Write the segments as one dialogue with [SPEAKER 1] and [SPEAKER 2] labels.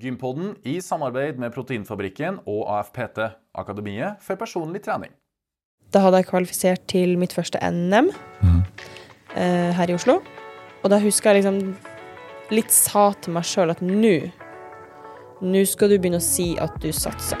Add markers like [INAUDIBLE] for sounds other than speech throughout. [SPEAKER 1] Gympodden i samarbeid med Proteinfabrikken og AFPT, Akademiet for personlig trening.
[SPEAKER 2] Da hadde jeg kvalifisert til mitt første NM eh, her i Oslo. Og da husker jeg liksom litt sa til meg sjøl at nå Nå skal du begynne å si at du satser.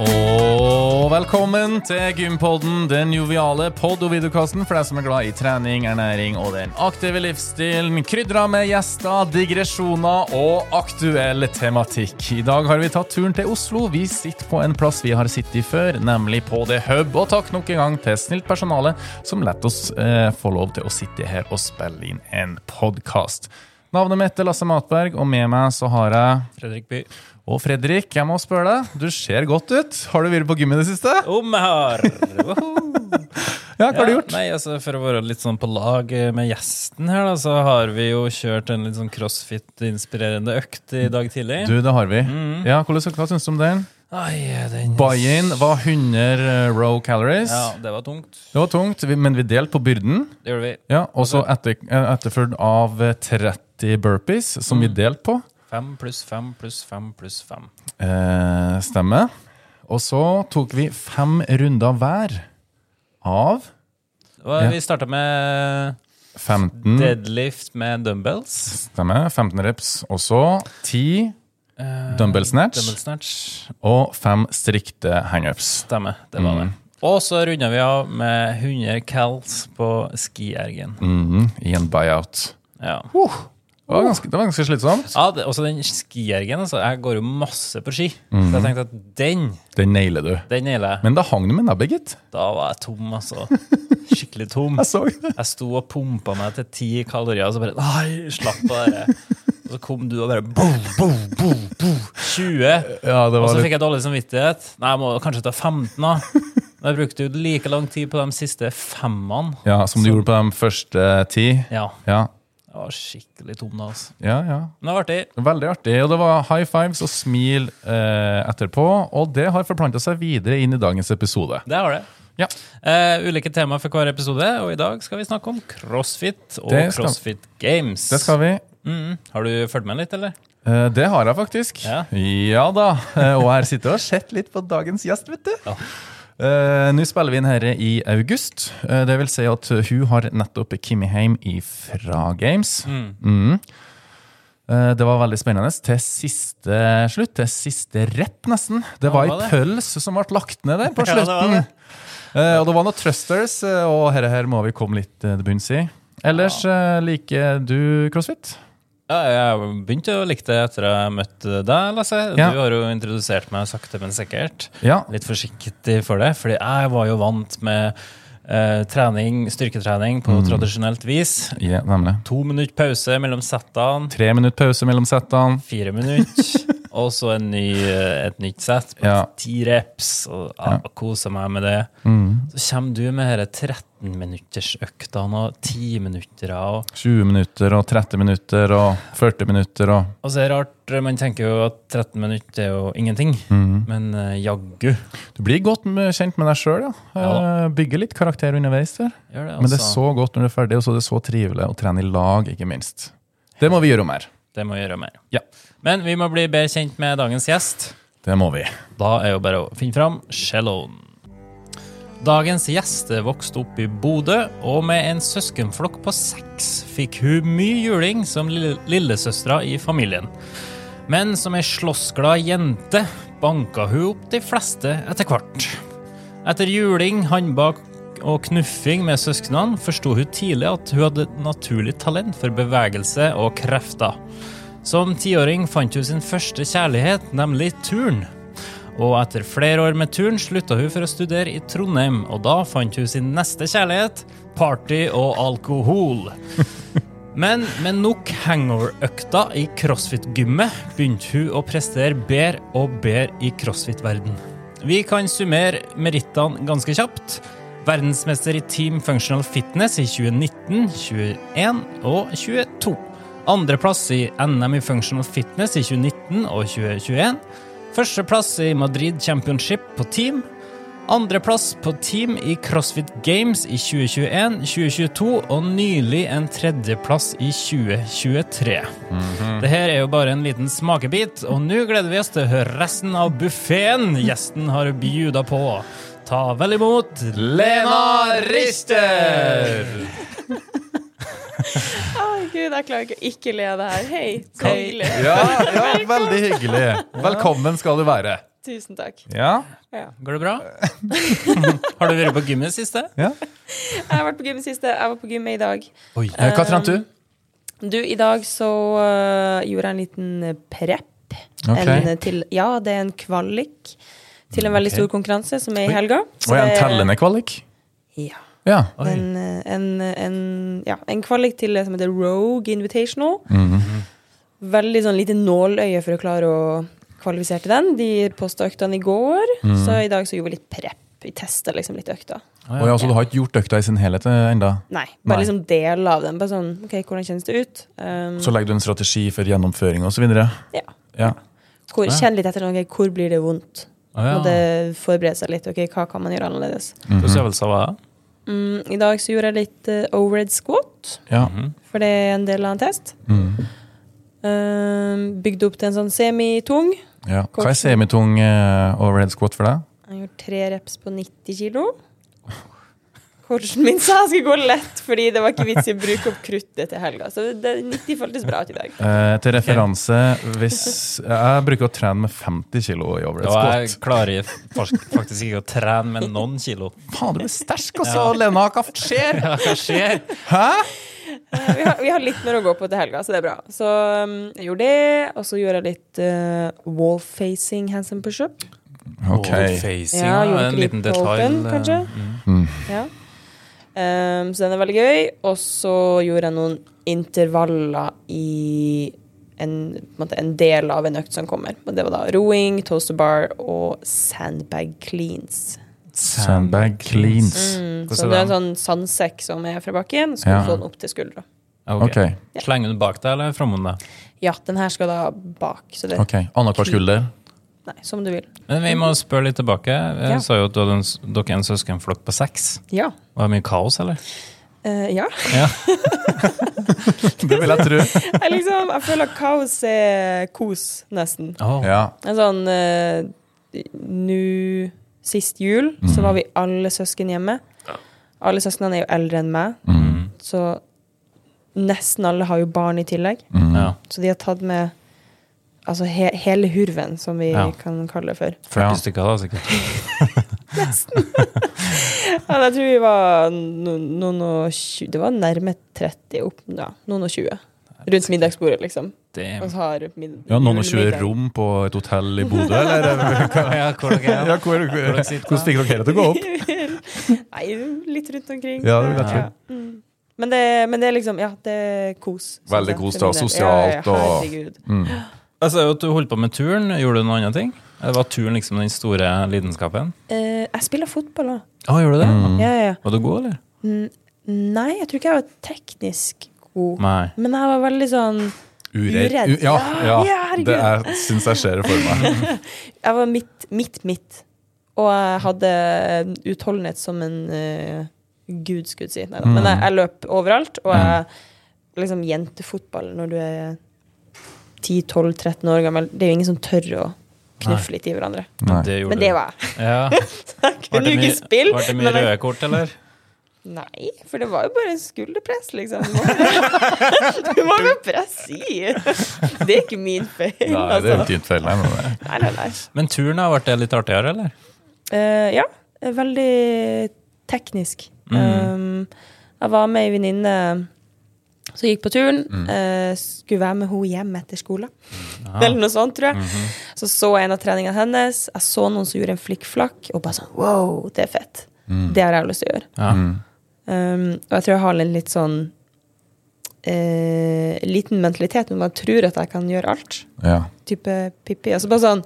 [SPEAKER 1] Og velkommen til Gympodden, den joviale pod- og videokasten for deg som er glad i trening, ernæring og den aktive livsstilen, krydra med gjester, digresjoner og aktuell tematikk. I dag har vi tatt turen til Oslo. Vi sitter på en plass vi har sittet i før, nemlig på The Hub. Og takk nok en gang til snilt personale som lett oss eh, få lov til å sitte her og spille inn en podkast. Navnet mitt er Lasse Matberg, og med meg så har jeg
[SPEAKER 3] Fredrik By.
[SPEAKER 1] og Fredrik, jeg må spørre deg. Du ser godt ut. Har du vært på gym i det siste?
[SPEAKER 3] Om jeg har! Woho!
[SPEAKER 1] Ja, hva har du gjort?
[SPEAKER 3] Nei, altså For å være litt sånn på lag eh, med gjesten her, da, så har vi jo kjørt en litt sånn crossfit-inspirerende økt i dag tidlig.
[SPEAKER 1] Du, det har vi.
[SPEAKER 3] Mm.
[SPEAKER 1] Ja, hvordan, Hva syns du om den?
[SPEAKER 3] Ai, den
[SPEAKER 1] Buy-in var 100 row calories.
[SPEAKER 3] Ja, det var tungt.
[SPEAKER 1] Det var tungt, vi- men vi delte på byrden.
[SPEAKER 3] Det gjorde vi.
[SPEAKER 1] Ja, Og så etter, eh, etterfulgt av eh, 30 burpees, som vi
[SPEAKER 3] Mm.
[SPEAKER 1] delte på.
[SPEAKER 3] Fem pluss fem pluss fem pluss fem.
[SPEAKER 1] Eh, stemmer. Og så tok vi fem runder hver av
[SPEAKER 3] Og
[SPEAKER 1] Ja. Mm.
[SPEAKER 3] Vi starta med
[SPEAKER 1] 15
[SPEAKER 3] deadlift med dumbbells.
[SPEAKER 1] Stemmer. 15 reps. Og så 10
[SPEAKER 3] Eh,
[SPEAKER 1] dumbbell snatch
[SPEAKER 3] Dumbbell snatch.
[SPEAKER 1] og fem strikte hangups.
[SPEAKER 3] Stemmer. Det
[SPEAKER 1] Mm.
[SPEAKER 3] var det. Og så runda vi av med 100 cals på skiergen.
[SPEAKER 1] Mhm, I en buyout.
[SPEAKER 3] Ja.
[SPEAKER 1] Det
[SPEAKER 3] Uh.
[SPEAKER 1] var ganske, det var ganske slitsomt.
[SPEAKER 3] Ja, det, også den skiergen. Altså, jeg går jo masse på ski. Så
[SPEAKER 1] Mhm.
[SPEAKER 3] jeg tenkte at den
[SPEAKER 1] Den nailer du.
[SPEAKER 3] den nailer jeg.
[SPEAKER 1] Men da hang du med nebbet, gitt.
[SPEAKER 3] Da var jeg
[SPEAKER 1] [LAUGHS]
[SPEAKER 3] tom, altså. Skikkelig tom.
[SPEAKER 1] Jeg så det. [LAUGHS]
[SPEAKER 3] Jeg sto og pumpa meg til ti kalorier, og så bare Nei, slapp av det der. Og så kom du og bare boom, boom, boom, boom, 20.
[SPEAKER 1] Ja, det
[SPEAKER 3] Og
[SPEAKER 1] var
[SPEAKER 3] så
[SPEAKER 1] litt
[SPEAKER 3] fikk jeg dårlig samvittighet. Nei, jeg må kanskje ta 15, da. Men jeg brukte jo like lang tid på de siste femmene.
[SPEAKER 1] Ja, Som du gjorde på de første ti.
[SPEAKER 3] Ja.
[SPEAKER 1] Ja,
[SPEAKER 3] Jeg var skikkelig tom da, altså.
[SPEAKER 1] ja. ja.
[SPEAKER 3] Men det var artig.
[SPEAKER 1] Veldig artig. Og det var high fives og smil eh, etterpå. Og det har forplanta seg videre inn i dagens episode.
[SPEAKER 3] Det har det.
[SPEAKER 1] Ja.
[SPEAKER 3] Eh, ulike tema for hver episode, og i dag skal vi snakke om crossfit og
[SPEAKER 1] Det skal-
[SPEAKER 3] CrossFit Games.
[SPEAKER 1] Det skal vi.
[SPEAKER 3] Mm. Har du fulgt med litt, eller?
[SPEAKER 1] Eh, det har jeg faktisk.
[SPEAKER 3] Ja.
[SPEAKER 1] Ja da. Eh, og her sitter jeg og har sett litt på dagens gjest, vet du.
[SPEAKER 3] Ja.
[SPEAKER 1] Eh, Nå spiller vi inn her i august. Eh, det vil si at hun har nettopp Kimmi hjem ifra Games. Mm. Eh, det var veldig spennende. Til siste slutt, til siste rett, nesten. Det var
[SPEAKER 3] Ja,
[SPEAKER 1] ei
[SPEAKER 3] det var
[SPEAKER 1] pøls som ble lagt ned der på
[SPEAKER 3] [LAUGHS] Ja, det var
[SPEAKER 1] slutten.
[SPEAKER 3] det.
[SPEAKER 1] Eh, og det var noen trusters, eh, og herre her må vi komme litt eh, til bunns i. Ellers eh, liker du crossfit?
[SPEAKER 3] Ja, jeg begynte å like det etter jeg møtte deg, Lasse.
[SPEAKER 1] Ja.
[SPEAKER 3] Du har jo introdusert meg sakte, men sikkert.
[SPEAKER 1] Ja.
[SPEAKER 3] Litt forsiktig for det, fordi jeg var jo vant med eh, trening, styrketrening
[SPEAKER 1] Mm.
[SPEAKER 3] på tradisjonelt vis.
[SPEAKER 1] ja nemlig.
[SPEAKER 3] To minutter pause mellom settene.
[SPEAKER 1] Tre minutter pause mellom settene.
[SPEAKER 3] Fire
[SPEAKER 1] [LAUGHS]
[SPEAKER 3] minutter. og så en ny, eh, et nytt sett på
[SPEAKER 1] Ja.
[SPEAKER 3] ti reps. Og ja, koser meg med det.
[SPEAKER 1] Mm.
[SPEAKER 3] Så kommer du med disse 13-minuttersøktene og 10-minutter. Og
[SPEAKER 1] 20 minutter og 30 minutter og 40 minutter og
[SPEAKER 3] Og så er det rart, eh, man tenker jo at 13 minutter er jo ingenting,
[SPEAKER 1] Mm.
[SPEAKER 3] men eh, jaggu
[SPEAKER 1] Du blir godt med- kjent med deg sjøl, ja.
[SPEAKER 3] Ja.
[SPEAKER 1] Eh, Bygger litt karakter underveis der.
[SPEAKER 3] gjør det. Altså.
[SPEAKER 1] Men det er så godt når det er ferdig, og så er det så trivelig å trene i lag, ikke minst. Det må vi gjøre mer.
[SPEAKER 3] Det må gjøre mer.
[SPEAKER 1] Ja.
[SPEAKER 3] Men vi må bli bedre kjent med dagens gjest.
[SPEAKER 1] Det må vi.
[SPEAKER 3] Da er jo bare å finne fram celloen. Dagens gjest vokste opp i Bodø, og med en søskenflokk på seks fikk hun mye juling som lille- lillesøstera i familien. Men som ei slåssglad jente banka hun opp de fleste etter hvert. Etter juling, håndbak og knuffing med søsknene forsto hun tidlig at hun hadde et naturlig talent for bevegelse og krefter. Som tiåring fant hun sin første kjærlighet, nemlig turn. Og etter flere år med turn slutta hun for å studere i Trondheim, og da fant hun sin neste kjærlighet, party og alkohol. Men med nok hangover-økta i crossfit-gymmet begynte hun å prestere bedre og bedre i crossfit-verden. Vi kan summere merittene ganske kjapt. Verdensmester i Team Functional Fitness i 2019, 21 og 22. Andreplass i NM i Functional Fitness i 2019 og 2021. Førsteplass i Madrid Championship på team. Andreplass på team i CrossFit Games i 2021, 2022 og nylig en tredjeplass i 2023. Det her er jo bare en liten smakebit, og nå gleder vi oss til å høre resten av buffeen gjesten har bjuda på. Ta vel imot Lena Rister!
[SPEAKER 2] Å, gud, jeg klarer ikke å ikke le av det her. Hei, så
[SPEAKER 3] Kan-
[SPEAKER 2] hyggelig.
[SPEAKER 1] Ja, ja, veldig hyggelig. Velkommen skal du være.
[SPEAKER 2] Tusen takk.
[SPEAKER 1] Ja,
[SPEAKER 2] Ja.
[SPEAKER 3] Går det bra? har du vært på gymmet siste?
[SPEAKER 1] ja.
[SPEAKER 2] Jeg har vært på gym i siste. Jeg var på gymmet i dag.
[SPEAKER 3] Oi.
[SPEAKER 1] Eh, Hva trente du?
[SPEAKER 2] Um, Du, i dag så øh, gjorde jeg en liten prep.
[SPEAKER 1] Ok.
[SPEAKER 2] En eh, til, ja, det er en kvalik til en veldig
[SPEAKER 3] Ok.
[SPEAKER 2] stor konkurranse som er
[SPEAKER 3] Oi.
[SPEAKER 2] i helga. Så
[SPEAKER 1] Og en
[SPEAKER 2] det er-
[SPEAKER 1] tellende kvalik?
[SPEAKER 2] Ja.
[SPEAKER 1] Ja.
[SPEAKER 3] Oi.
[SPEAKER 2] En, øh, en, øh, en, ja, en kvalik til det som heter Rogue Invitational.
[SPEAKER 3] Mhm.
[SPEAKER 2] Veldig sånn lite nåløye for å klare å kvalifisere til den. De posta øktene i går,
[SPEAKER 3] Mhm.
[SPEAKER 2] så i dag så gjorde vi litt prep. Vi testa liksom litt økta.
[SPEAKER 1] Og ja, så du har ikke gjort økta i sin helhet eh, enda?
[SPEAKER 2] Nei, bare
[SPEAKER 1] Nei.
[SPEAKER 2] liksom deler av den. Bare sånn, ok, Hvordan kjennes det ut? Um,
[SPEAKER 1] Så legger du en strategi for gjennomføring osv.?
[SPEAKER 2] ja.
[SPEAKER 1] Ja.
[SPEAKER 2] Hvor,
[SPEAKER 3] Ja.
[SPEAKER 2] kjenn litt etter sånn, ok, hvor blir det vondt.
[SPEAKER 3] Å ja. Mm-hmm.
[SPEAKER 2] Må det forberede seg litt. ok, Hva kan man gjøre annerledes?
[SPEAKER 1] Mm-hmm.
[SPEAKER 3] Hvordan øvelser var det?
[SPEAKER 2] Mm, I dag så gjorde jeg litt eh, overhead squat,
[SPEAKER 1] ja.
[SPEAKER 2] for det er en del av en test.
[SPEAKER 1] Mhm.
[SPEAKER 2] Um, bygde opp til en sånn semitung.
[SPEAKER 1] ja.
[SPEAKER 2] Kort.
[SPEAKER 1] Hva er semitung eh, overhead squat for deg?
[SPEAKER 2] Jeg gjorde tre reps på 90 kilo. Coachen min sa jeg skulle gå lett, fordi det var ikke vits i å bruke opp kruttet til helga. Så det, 90 føltes bra ut i dag.
[SPEAKER 1] Eh, til referanse hvis Jeg bruker å trene med 50 kilo i overhead
[SPEAKER 3] Og jeg
[SPEAKER 1] squat.
[SPEAKER 3] klarer jeg fors- faktisk ikke å trene med noen kilo.
[SPEAKER 1] Faen, du er sterk, altså, Lena. Hva skjer?
[SPEAKER 3] [LAUGHS] Ja, hva skjer?
[SPEAKER 2] Eh, Vi har, vi har litt mer å gå på til helga, så det er bra. Så um, jeg gjorde det, og så gjorde jeg litt eh, wall facing hands and push-up.
[SPEAKER 1] [LAUGHS] Ok.
[SPEAKER 3] Overfacing, ja,
[SPEAKER 2] gjorde
[SPEAKER 3] en
[SPEAKER 2] ikke
[SPEAKER 3] liten
[SPEAKER 2] litt på
[SPEAKER 3] detalj.
[SPEAKER 2] open,
[SPEAKER 3] eh,
[SPEAKER 2] kanskje?
[SPEAKER 3] mm.
[SPEAKER 2] Ja. Ehm, så den er veldig gøy. Og så gjorde jeg noen intervaller i en, på en måte, en del av en økt som kommer. Og det var da roing, toaster bar og sandbag cleans.
[SPEAKER 1] Sandbag cleans.
[SPEAKER 2] Mm,
[SPEAKER 3] Hvordan
[SPEAKER 2] så
[SPEAKER 3] er
[SPEAKER 2] det er en
[SPEAKER 3] den?
[SPEAKER 2] sånn sandsekk som er fra bakken, så
[SPEAKER 1] Ja.
[SPEAKER 2] kan du få den opp til skuldra.
[SPEAKER 1] Mm. Ok.
[SPEAKER 3] Ok. Slenger du den bak deg eller framom deg?
[SPEAKER 2] Ja, den her skal da bak, så det
[SPEAKER 1] ok. Annenhver skulder.
[SPEAKER 2] Nei, som du vil.
[SPEAKER 3] Men vi må spørre litt tilbake.
[SPEAKER 2] Ja.
[SPEAKER 3] Jeg sa jo at du hadde en, s- dere er en søskenflokk på seks.
[SPEAKER 2] Ja.
[SPEAKER 3] Var det mye kaos, eller?
[SPEAKER 2] Eh, ja.
[SPEAKER 1] Det vil jeg [LAUGHS] tro.
[SPEAKER 2] [LAUGHS] Jeg liksom Jeg føler at kaos er kos, nesten.
[SPEAKER 3] Oh.
[SPEAKER 1] Ja.
[SPEAKER 2] En sånn eh, Nå sist jul
[SPEAKER 3] Mm.
[SPEAKER 2] så var vi alle søsken hjemme. Alle søsknene er jo eldre enn meg,
[SPEAKER 3] Mm.
[SPEAKER 2] så nesten alle har jo barn i tillegg.
[SPEAKER 1] Mm.
[SPEAKER 3] Ja.
[SPEAKER 2] Så de har tatt med altså he hele hurven, som vi
[SPEAKER 3] Ja.
[SPEAKER 2] kan kalle det for.
[SPEAKER 3] 40
[SPEAKER 1] Ja.
[SPEAKER 3] stykker, da, sikkert.
[SPEAKER 2] Ja, jeg tror vi var no- noen og tjue Det var nærme 30 opp, ja. Noen og 20. Rundt middagsbordet, liksom. Og [LAUGHS]
[SPEAKER 3] Damn.
[SPEAKER 2] så har mid
[SPEAKER 1] ja, noen og tjue
[SPEAKER 2] julemiddag.
[SPEAKER 1] rom på et hotell i Bodø, [LAUGHS] eller?
[SPEAKER 3] Ja, hvor dere er,
[SPEAKER 1] Ja, hvor, hvor, hvordan fikk dere det til å gå opp?
[SPEAKER 2] Nei, litt rundt omkring.
[SPEAKER 1] Ja, det vil jeg tro.
[SPEAKER 2] Mm. Men, det, men det er liksom Ja, det er kos. synes
[SPEAKER 1] Veldig
[SPEAKER 2] jeg,
[SPEAKER 1] kos,
[SPEAKER 2] for
[SPEAKER 1] da,
[SPEAKER 2] min del.
[SPEAKER 1] sosialt
[SPEAKER 2] ja, ja,
[SPEAKER 1] og-
[SPEAKER 2] herregud.
[SPEAKER 1] Mm.
[SPEAKER 3] Jeg sa jo at du holdt på med turen. Gjorde du noen andre ting? Eller var turen liksom den store lidenskapen?
[SPEAKER 2] Eh, jeg spiller fotball òg.
[SPEAKER 3] Å, gjorde du det?
[SPEAKER 1] Mm.
[SPEAKER 2] Ja, ja, ja.
[SPEAKER 3] Var du god, eller?
[SPEAKER 2] Mm, Nei, jeg tror ikke jeg var teknisk god.
[SPEAKER 3] Nei.
[SPEAKER 2] Men jeg var veldig sånn
[SPEAKER 1] Uredd.
[SPEAKER 2] Uredd.
[SPEAKER 1] U- Ja,
[SPEAKER 2] Ja,
[SPEAKER 1] ja.
[SPEAKER 2] herregud.
[SPEAKER 1] Det er- syns jeg ser det for meg.
[SPEAKER 2] Jeg var midt, midt, midt. Og jeg hadde utholdenhet som en eh, gud, skulle jeg si. Neida. Men jeg, jeg løp overalt, og jeg liksom jentefotball når du er 10-12-13 år gammel Det er jo ingen som tør å knuffe litt i hverandre.
[SPEAKER 1] [LAUGHS] Nei.
[SPEAKER 3] Det gjorde
[SPEAKER 2] Men det
[SPEAKER 3] du.
[SPEAKER 2] var [LAUGHS] jeg.
[SPEAKER 3] Ja.
[SPEAKER 2] Jeg
[SPEAKER 3] Var
[SPEAKER 2] kunne
[SPEAKER 3] det
[SPEAKER 2] jo
[SPEAKER 3] mye-
[SPEAKER 2] ikke spille.
[SPEAKER 3] Var det mye
[SPEAKER 2] men jeg-
[SPEAKER 3] røde kort, eller?
[SPEAKER 2] Nei, for det var jo bare en skulderpress, liksom. Du må jo- Du må [LAUGHS] jo presse i. [LAUGHS] Det er ikke min feil,
[SPEAKER 1] Nei, det er jo
[SPEAKER 2] altså.
[SPEAKER 1] dypt feil. Nei, men det-
[SPEAKER 2] Nei, nei, nei.
[SPEAKER 3] Men turen har vært det litt artigere, eller?
[SPEAKER 2] Eh, ja, veldig teknisk. Um, jeg var med ei venninne som gikk på turen. eh, skulle være med henne hjem etter skolen,
[SPEAKER 3] Ah.
[SPEAKER 2] eller noe sånt, tror jeg.
[SPEAKER 3] Mm.
[SPEAKER 2] Så så jeg en av treningene hennes. Jeg så noen som gjorde en flikkflakk, og bare sånn wow, det er fett.
[SPEAKER 1] Mm.
[SPEAKER 2] Det har jeg lyst til å gjøre.
[SPEAKER 3] Ja.
[SPEAKER 2] Um, og jeg tror jeg har en litt sånn eh, liten mentalitet, men man tror at jeg kan gjøre alt.
[SPEAKER 1] Ja.
[SPEAKER 2] Type Pippi. Altså bare sånn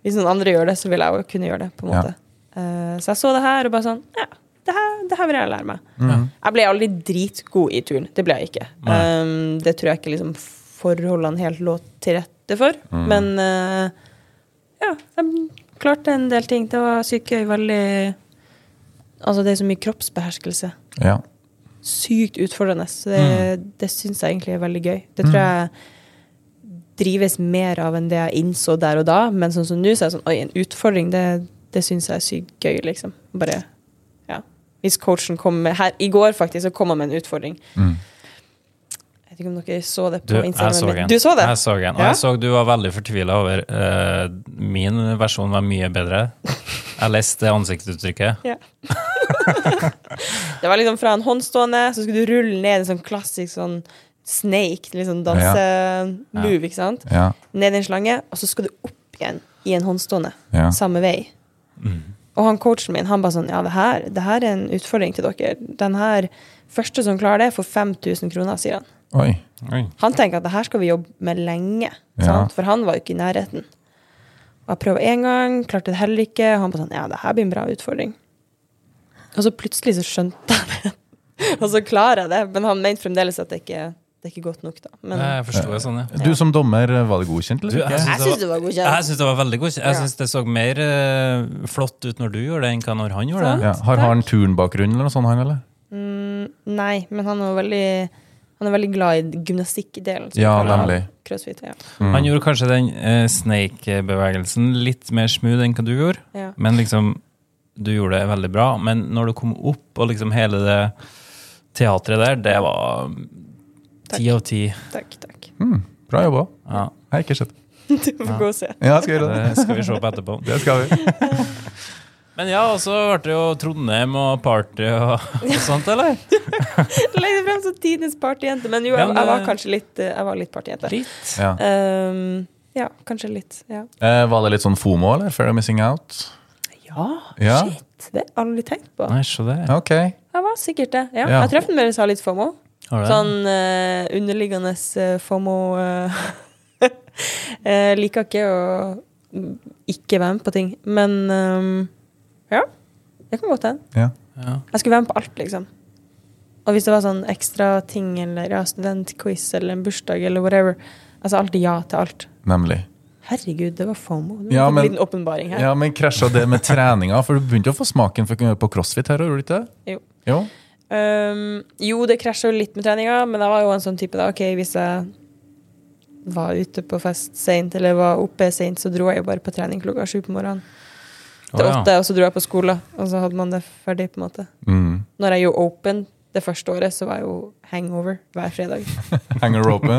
[SPEAKER 2] Hvis noen andre gjør det, så vil jeg jo kunne gjøre det, på en
[SPEAKER 1] Ja.
[SPEAKER 2] måte. Eh, så jeg så det her og bare sånn Ja, det her, det her vil jeg lære meg.
[SPEAKER 1] Mm.
[SPEAKER 2] Jeg ble aldri dritgod i turen. Det ble jeg ikke.
[SPEAKER 3] Nei.
[SPEAKER 2] Um, det tror jeg ikke liksom forholdene helt lå til rette for. Men eh, ja, jeg klarte en del ting. Det var sykt gøy. Veldig Altså, det er så mye kroppsbeherskelse.
[SPEAKER 1] Ja.
[SPEAKER 2] Sykt utfordrende. Så det,
[SPEAKER 3] Mm.
[SPEAKER 2] det syns jeg egentlig er veldig gøy. Det tror jeg drives mer av enn det jeg innså der og da, men sånn som nå, så er det sånn Oi, en utfordring, det, det syns jeg er sykt gøy, liksom. Bare Ja. Hvis coachen kommer med Her i går, faktisk, så kom han med en utfordring.
[SPEAKER 1] Mm.
[SPEAKER 2] Jeg vet ikke om dere så det
[SPEAKER 3] Du,
[SPEAKER 2] på
[SPEAKER 3] jeg så
[SPEAKER 2] Instagram.
[SPEAKER 3] en.
[SPEAKER 2] Du så det?
[SPEAKER 3] Jeg så en. Og
[SPEAKER 2] Ja?
[SPEAKER 3] jeg så du var veldig fortvila over eh, Min versjon var mye bedre. Jeg leste ansiktsuttrykket.
[SPEAKER 2] Ja. det var liksom fra en håndstående, så skulle du rulle ned en sånn klassisk sånn snake, litt sånn dansemove, ikke sant?
[SPEAKER 1] Ja.
[SPEAKER 2] Ned i en slange, og så skal du opp igjen i en håndstående.
[SPEAKER 1] Ja.
[SPEAKER 2] Samme vei. Og han coachen min, han bare sånn Ja, det her, det her er en utfordring til dere. Den her første som klarer det, får 5000 kroner, sier han.
[SPEAKER 1] Oi.
[SPEAKER 3] Oi.
[SPEAKER 2] Han tenker at det her skal vi jobbe med lenge,
[SPEAKER 1] Ja.
[SPEAKER 2] sant? for han var jo ikke i nærheten. Og jeg prøvde én gang, klarte det heller ikke. Og han bare sånn Ja, det her blir en bra utfordring. Og så plutselig så skjønte jeg det. [LAUGHS] og så klarer jeg det. Men han mente fremdeles at det ikke det er ikke godt nok, da. Men
[SPEAKER 3] Jeg forsto det sånn, ja.
[SPEAKER 1] Du som dommer, var det godkjent?
[SPEAKER 3] Du,
[SPEAKER 1] Eller?
[SPEAKER 3] jeg
[SPEAKER 2] jeg syns det var
[SPEAKER 3] Jeg
[SPEAKER 2] godkjent.
[SPEAKER 3] syns det var veldig godt. Jeg
[SPEAKER 2] Ja.
[SPEAKER 3] synes det så mer eh, flott ut når du gjorde det, enn hva når han gjorde
[SPEAKER 2] Sant.
[SPEAKER 3] det.
[SPEAKER 1] Ja. Har han turnbakgrunn eller noe sånt, han, eller?
[SPEAKER 2] Nei, men han er jo veldig han er veldig glad i gymnastikkdelen. som
[SPEAKER 1] Ja,
[SPEAKER 2] vi kaller det.
[SPEAKER 1] nemlig.
[SPEAKER 2] Crossfit, ja.
[SPEAKER 3] Han gjorde kanskje den eh, snake-bevegelsen litt mer smooth enn hva du gjorde,
[SPEAKER 2] ja.
[SPEAKER 3] men liksom Du gjorde det veldig bra, men når du kom opp, og liksom hele det teatret der, det var ti av ti.
[SPEAKER 2] Takk, takk.
[SPEAKER 1] Mm. Bra jobba.
[SPEAKER 3] Ja,
[SPEAKER 1] Jeg har ikke sett.
[SPEAKER 2] [LAUGHS] Du får gå og [LAUGHS] se.
[SPEAKER 1] Ja, jeg skal gjøre det.
[SPEAKER 3] det skal vi se på etterpå.
[SPEAKER 1] [LAUGHS] Det skal vi.
[SPEAKER 3] [LAUGHS] Men ja, og så ble det jo Trondheim og party
[SPEAKER 2] [LAUGHS]
[SPEAKER 3] og, og sånt, eller?
[SPEAKER 2] Legg det frem som tidenes partyjente. Men jo,
[SPEAKER 3] Ja,
[SPEAKER 2] jeg,
[SPEAKER 3] men
[SPEAKER 2] jeg var
[SPEAKER 3] det-
[SPEAKER 2] kanskje litt, eh, jeg var litt partyjente.
[SPEAKER 3] Litt.
[SPEAKER 1] Ja.
[SPEAKER 2] Ehm, ja, kanskje litt. Ja.
[SPEAKER 1] Eh, var det litt sånn FOMO, eller? Fair of missing out? Ja.
[SPEAKER 2] shit! Det har jeg aldri tenkt på.
[SPEAKER 3] Nei, se der.
[SPEAKER 1] Ok.
[SPEAKER 2] Jeg var sikkert det. Ja.
[SPEAKER 1] Ja.
[SPEAKER 2] Jeg traff den mer som har litt FOMO.
[SPEAKER 3] Har du det?
[SPEAKER 2] Sånn eh, underliggende eh, FOMO eh, [LAUGHS] eh, Liker ikke å ikke være med på ting. Men ehm, ja, det kan godt hende.
[SPEAKER 1] Ja.
[SPEAKER 3] Ja.
[SPEAKER 2] Jeg skulle være med på alt, liksom. Og hvis det var sånn ekstra ting eller ja, studentquiz eller en bursdag eller whatever Altså alltid ja til alt.
[SPEAKER 1] Nemlig.
[SPEAKER 2] Herregud, det var FOMO. Det var
[SPEAKER 1] Ja,
[SPEAKER 2] en
[SPEAKER 1] men-
[SPEAKER 2] liten åpenbaring her.
[SPEAKER 1] Ja, men krasja det med treninga? For du begynte å få smaken for, på crossfit her, gjorde du ikke det?
[SPEAKER 2] Jo.
[SPEAKER 1] Jo.
[SPEAKER 2] Um, jo, det krasja jo litt med treninga, men jeg var jo en sånn type da. Ok, hvis jeg var ute på fest seint eller var oppe seint, så dro jeg jo bare på trening klokka sju på morgenen til
[SPEAKER 3] Å, ja.
[SPEAKER 2] åtte, og så dro jeg på skolen, og så hadde man det ferdig, på en måte.
[SPEAKER 1] Mm.
[SPEAKER 2] Når jeg gjorde open det første året, så var jeg jo hangover hver fredag.
[SPEAKER 1] Hanger rope.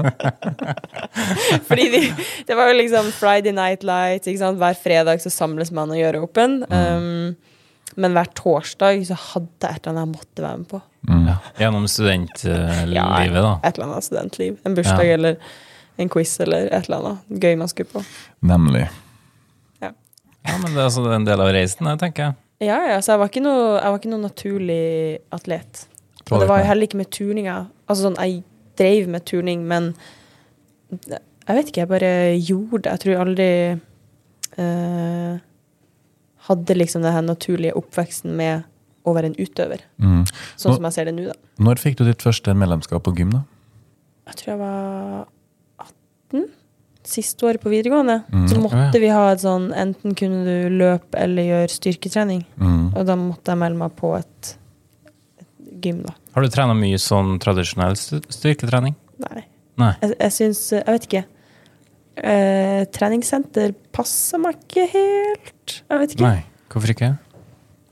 [SPEAKER 2] Fordi vi, det var jo liksom Friday Night Lights. Ikke sant? Hver fredag så samles man og gjør åpen. Um, men hver torsdag så hadde jeg et eller annet jeg måtte være med på.
[SPEAKER 1] Mm.
[SPEAKER 3] Gjennom studentlivet, da.
[SPEAKER 2] Et eller annet studentliv. En bursdag
[SPEAKER 3] Ja.
[SPEAKER 2] eller en quiz eller et eller annet gøy man skulle på.
[SPEAKER 1] Nemlig.
[SPEAKER 3] Ja, men det er altså en del av reisen, jeg tenker jeg.
[SPEAKER 2] Ja, ja, så jeg var ikke noe, jeg var ikke noe naturlig atlet. Og det var jo heller ikke med turninga. Altså sånn, jeg drev med turning, men jeg vet ikke, jeg bare gjorde det. Jeg tror aldri eh, hadde liksom den her naturlige oppveksten med å være en utøver.
[SPEAKER 1] Mm.
[SPEAKER 2] Sånn
[SPEAKER 1] Nå-
[SPEAKER 2] som jeg ser det nå, da.
[SPEAKER 1] Når fikk du ditt første medlemskap på gym, da?
[SPEAKER 2] Jeg tror jeg var 18. Siste året på videregående.
[SPEAKER 1] Mm.
[SPEAKER 2] Så
[SPEAKER 3] Ja, ja.
[SPEAKER 2] måtte vi ha et sånn enten kunne du løpe eller gjøre styrketrening.
[SPEAKER 1] Mm.
[SPEAKER 2] Og da måtte jeg melde meg på et, et gym, da.
[SPEAKER 3] Har du trena mye sånn tradisjonell st- styrketrening?
[SPEAKER 2] Nei.
[SPEAKER 3] Nei.
[SPEAKER 2] Jeg, jeg syns Jeg vet ikke. Eh, treningssenter passer meg ikke helt. Jeg vet ikke.
[SPEAKER 3] Nei. Hvorfor ikke?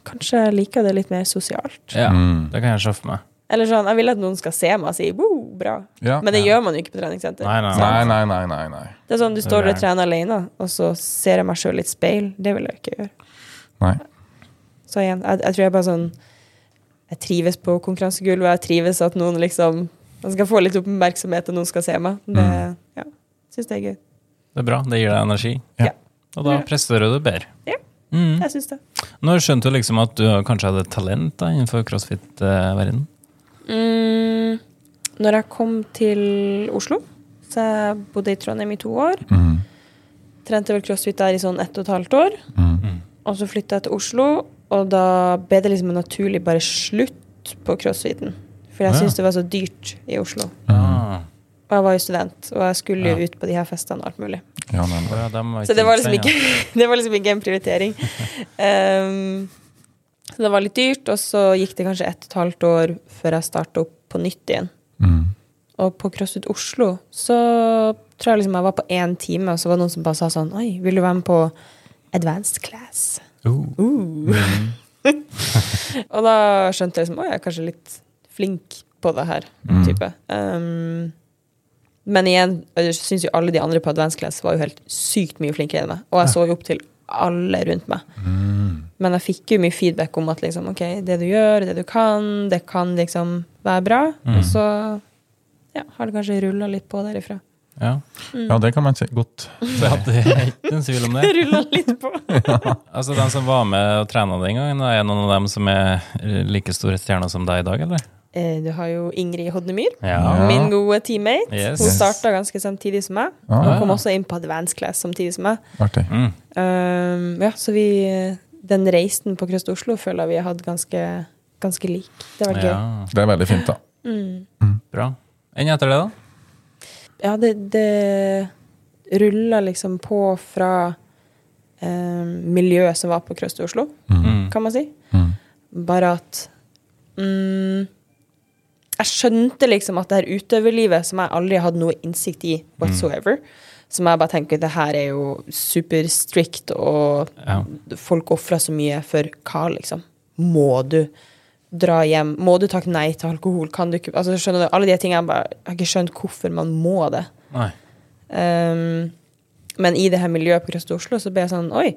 [SPEAKER 2] Kanskje jeg liker det litt mer sosialt.
[SPEAKER 3] Ja,
[SPEAKER 1] Mm.
[SPEAKER 3] det kan jeg se for meg.
[SPEAKER 2] Eller sånn, Jeg vil at noen skal se meg og si wow, bra.
[SPEAKER 1] Ja.
[SPEAKER 2] Men det
[SPEAKER 3] Ja.
[SPEAKER 2] gjør man jo ikke på treningssenter.
[SPEAKER 3] Nei, nei,
[SPEAKER 1] Nei, nei, nei, nei. nei.
[SPEAKER 2] Det er sånn, Du står der
[SPEAKER 3] Nei.
[SPEAKER 2] og trener alene, og så ser jeg meg sjøl i et speil. Det vil jeg ikke gjøre.
[SPEAKER 1] nei.
[SPEAKER 2] Så igjen, jeg, jeg tror jeg bare sånn Jeg trives på konkurransegulvet. Jeg trives at noen liksom Man skal få litt oppmerksomhet, og noen skal se meg. Det,
[SPEAKER 1] Mm.
[SPEAKER 2] ja, Syns det er gøy.
[SPEAKER 3] Det er bra, det gir deg energi.
[SPEAKER 1] Ja.
[SPEAKER 2] Ja.
[SPEAKER 3] Og da presterer du bedre.
[SPEAKER 2] Ja.
[SPEAKER 3] Mm.
[SPEAKER 2] Jeg syns det.
[SPEAKER 3] Når skjønte du liksom at du kanskje hadde talent da, innenfor crossfit-verdenen?
[SPEAKER 2] Mm, når jeg kom til Oslo Så jeg bodde i Trondheim i to år.
[SPEAKER 1] Mm.
[SPEAKER 2] Trente vel crossfit der i sånn ett og et halvt år.
[SPEAKER 1] Mm.
[SPEAKER 2] Og så flytta jeg til Oslo, og da ble det liksom en naturlig bare slutt på crossfiten. For jeg
[SPEAKER 3] Ja.
[SPEAKER 2] syntes det var så dyrt i Oslo.
[SPEAKER 1] Mm.
[SPEAKER 3] Ah.
[SPEAKER 2] Og jeg var jo student, og jeg skulle
[SPEAKER 3] Ja.
[SPEAKER 2] jo ut på de her festene og alt mulig.
[SPEAKER 1] Ja,
[SPEAKER 3] Å
[SPEAKER 1] nemlig.
[SPEAKER 3] ja, dem var
[SPEAKER 2] Så [LAUGHS] det var
[SPEAKER 3] ikke
[SPEAKER 2] liksom
[SPEAKER 3] sendt,
[SPEAKER 2] ikke, det var liksom ikke en prioritering. Um, Så det var litt dyrt, og så gikk det kanskje ett og et halvt år før jeg starta opp på nytt igjen.
[SPEAKER 1] Mm.
[SPEAKER 2] Og på CrossFit Oslo så tror jeg liksom jeg var på én time, og så var det noen som bare sa sånn Oi, vil du være med på advanced class?
[SPEAKER 3] Uh.
[SPEAKER 2] og da skjønte jeg liksom Oi, jeg er kanskje litt flink på det her.
[SPEAKER 1] Mm.
[SPEAKER 2] type. Um, men igjen, jeg syns jo alle de andre på advanced class var jo helt sykt mye flinkere enn meg. Og jeg så jo opp til alle rundt meg.
[SPEAKER 1] Mm.
[SPEAKER 2] Men jeg fikk jo mye feedback om at liksom, ok, det du gjør, det du kan, det kan liksom være bra. Og så ja, har det kanskje rulla litt på derifra. [LAUGHS]
[SPEAKER 3] Ja.
[SPEAKER 1] Ja, det kan man si. Godt.
[SPEAKER 3] Det hadde jeg ikke en tvil om det.
[SPEAKER 2] Rulla litt på!
[SPEAKER 3] Altså, De som var med og trena den gangen, er noen av dem som er eh, like store stjerner som deg i dag, eller?
[SPEAKER 2] [LAUGHS] Eh, Du har jo Ingrid Hodnemyr,
[SPEAKER 1] Ja.
[SPEAKER 2] min gode teammate.
[SPEAKER 3] Yes.
[SPEAKER 2] Hun
[SPEAKER 3] Yes.
[SPEAKER 2] starta ganske samtidig som meg.
[SPEAKER 1] Ja.
[SPEAKER 2] Hun kom også inn på advanced class samtidig som meg.
[SPEAKER 1] Artig.
[SPEAKER 3] Mm.
[SPEAKER 2] Um, ja, så vi Den reisen på Krøst Oslo føler jeg vi har hatt ganske, ganske lik. Det har vært
[SPEAKER 3] Ja,
[SPEAKER 2] gøy. Mm.
[SPEAKER 1] Det er veldig fint, da.
[SPEAKER 3] bra. Enn etter det, da?
[SPEAKER 2] Ja, det, det rulla liksom på fra um, miljøet som var på Krøst Oslo,
[SPEAKER 3] Mm.
[SPEAKER 2] kan man si. Bare at mm, Jeg skjønte liksom at det her utøverlivet, som jeg aldri hadde noe innsikt i
[SPEAKER 3] Mm.
[SPEAKER 2] whatsoever, som jeg bare tenker det her er jo super strict, og
[SPEAKER 3] Ja.
[SPEAKER 2] folk ofrer så mye for hva, liksom? Må du dra hjem? Må du takke nei til alkohol? Kan du ikke altså, skjønner du, Alle de tingene jeg bare Jeg har ikke skjønt hvorfor man må det.
[SPEAKER 3] Nei.
[SPEAKER 2] Ehm, men i det her miljøet på Grøst Oslo så ble jeg sånn Oi.